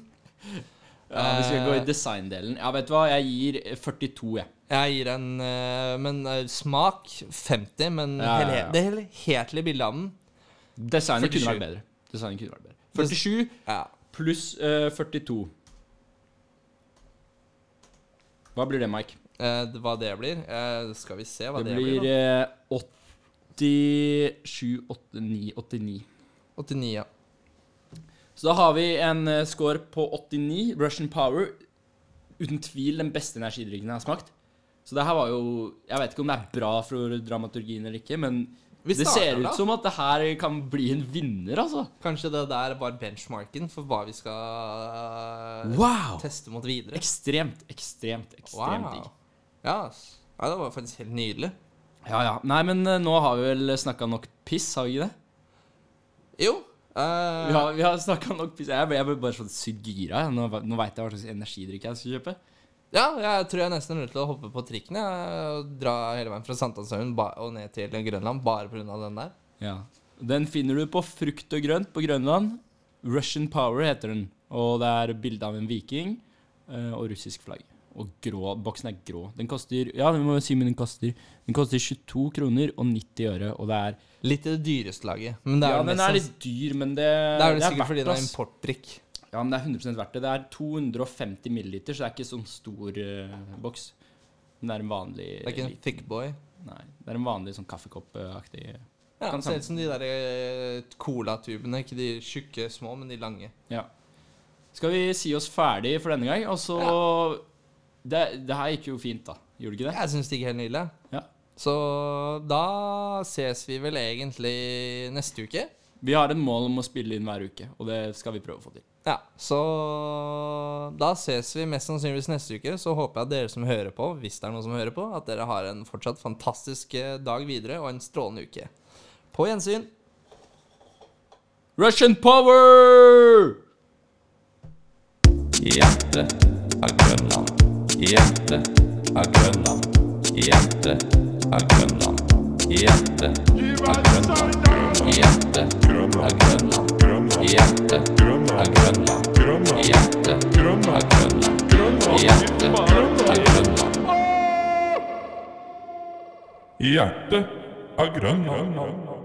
S3: Ja, vi skal gå i designdelen. Eh, Ja, vet du hva, jeg gir 42, jeg.
S4: Jeg gir en eh, men, eh, smak 50, men
S3: Ja, ja, ja.
S4: helhe- det helhetlige bildet av den
S3: Designet kunne
S4: 47.
S3: vært bedre. Designet kunne vært bedre. 47
S4: ja.
S3: pluss eh, 42. Hva blir det, Mike?
S4: Eh, det- hva det blir? Eh, skal vi se hva
S3: Det,
S4: det,
S3: blir
S4: blir. da.
S3: eh, 87, 89, 89.
S4: 89, ja.
S3: Så da har vi en eh, score på 89, Russian Power. Uten tvil den beste energidrikken jeg har smakt. Så det her var jo Jeg vet ikke om det er bra for dramaturgien eller ikke, men
S4: Vi
S3: det
S4: starter
S3: ser ut
S4: da.
S3: som at det her kan bli en vinner, altså.
S4: Kanskje det der var benchmarken for hva vi skal eh,
S3: Wow!
S4: teste mot videre.
S3: Ekstremt, ekstremt, ekstremt digg.
S4: Ja, ass. ja, det var faktisk helt nydelig.
S3: Ja, ja. Nei, men eh, nå har vi vel snakka nok piss, har vi ikke det?
S4: Jo. eh,
S3: Vi har, vi har snakket nok piss. Jeg ble, jeg ble bare sånn sykt gira. jeg. Nå, nå veit jeg hva slags energidrikk jeg skal kjøpe.
S4: ja, jeg tror jeg nesten er nødt til å hoppe på trikken jeg, og dra hele veien fra Sankthanshaugen ba- og ned til Grønland bare pga. den der.
S3: Ja. Den finner du på Frukt og grønt på Grønland. Russian Power heter den. Og det er bilde av en viking eh, og russisk flagg. Og grå, boksen er grå. Den koster ja, vi må jo si men den koster. Den koster 22 kroner og 90 øre. Og det er
S4: Litt i det dyreste laget. Men det er,
S3: Ja,
S4: jo
S3: den
S4: mest
S3: er
S4: sanns-
S3: litt dyr, men det,
S4: det er jo sikkert
S3: verdt
S4: fordi det er
S3: oss.
S4: importdrikk.
S3: Ja, men det er 100 verdt det. Det er 250 milliliter, så det er ikke sånn stor eh, boks. Men det er en vanlig
S4: Det er ikke en thick boy.
S3: Nei, det er en vanlig sånn kaffekoppaktig
S4: Ja,
S3: Kan
S4: Ser ut som de der eh, colatubene. Ikke de tjukke små, men de lange.
S3: Ja. Skal vi si oss ferdig for denne gang, og så det, det her gikk jo fint, da. Gjorde det ikke det?
S4: Jeg syns det gikk helt nydelig.
S3: Ja.
S4: Så da ses vi vel egentlig neste uke.
S3: Vi har en mål om å spille inn hver uke, og det skal vi prøve å få til.
S4: Ja, så da ses vi mest sannsynligvis neste uke. Så håper jeg at dere som hører på, hvis det er noen som hører på, at dere har en fortsatt fantastisk eh, dag videre og en strålende uke. På gjensyn.
S3: Russian power!
S6: Hjertet av Grønland. Hjertet av Grønland. Hjertet av Grønland. Hjertet av Grønland. Hjertet av Grønland. Hjertet av Grønland. Hjertet av Grønland. Hjertet av Grønland.
S2: Hjertet av Grønland.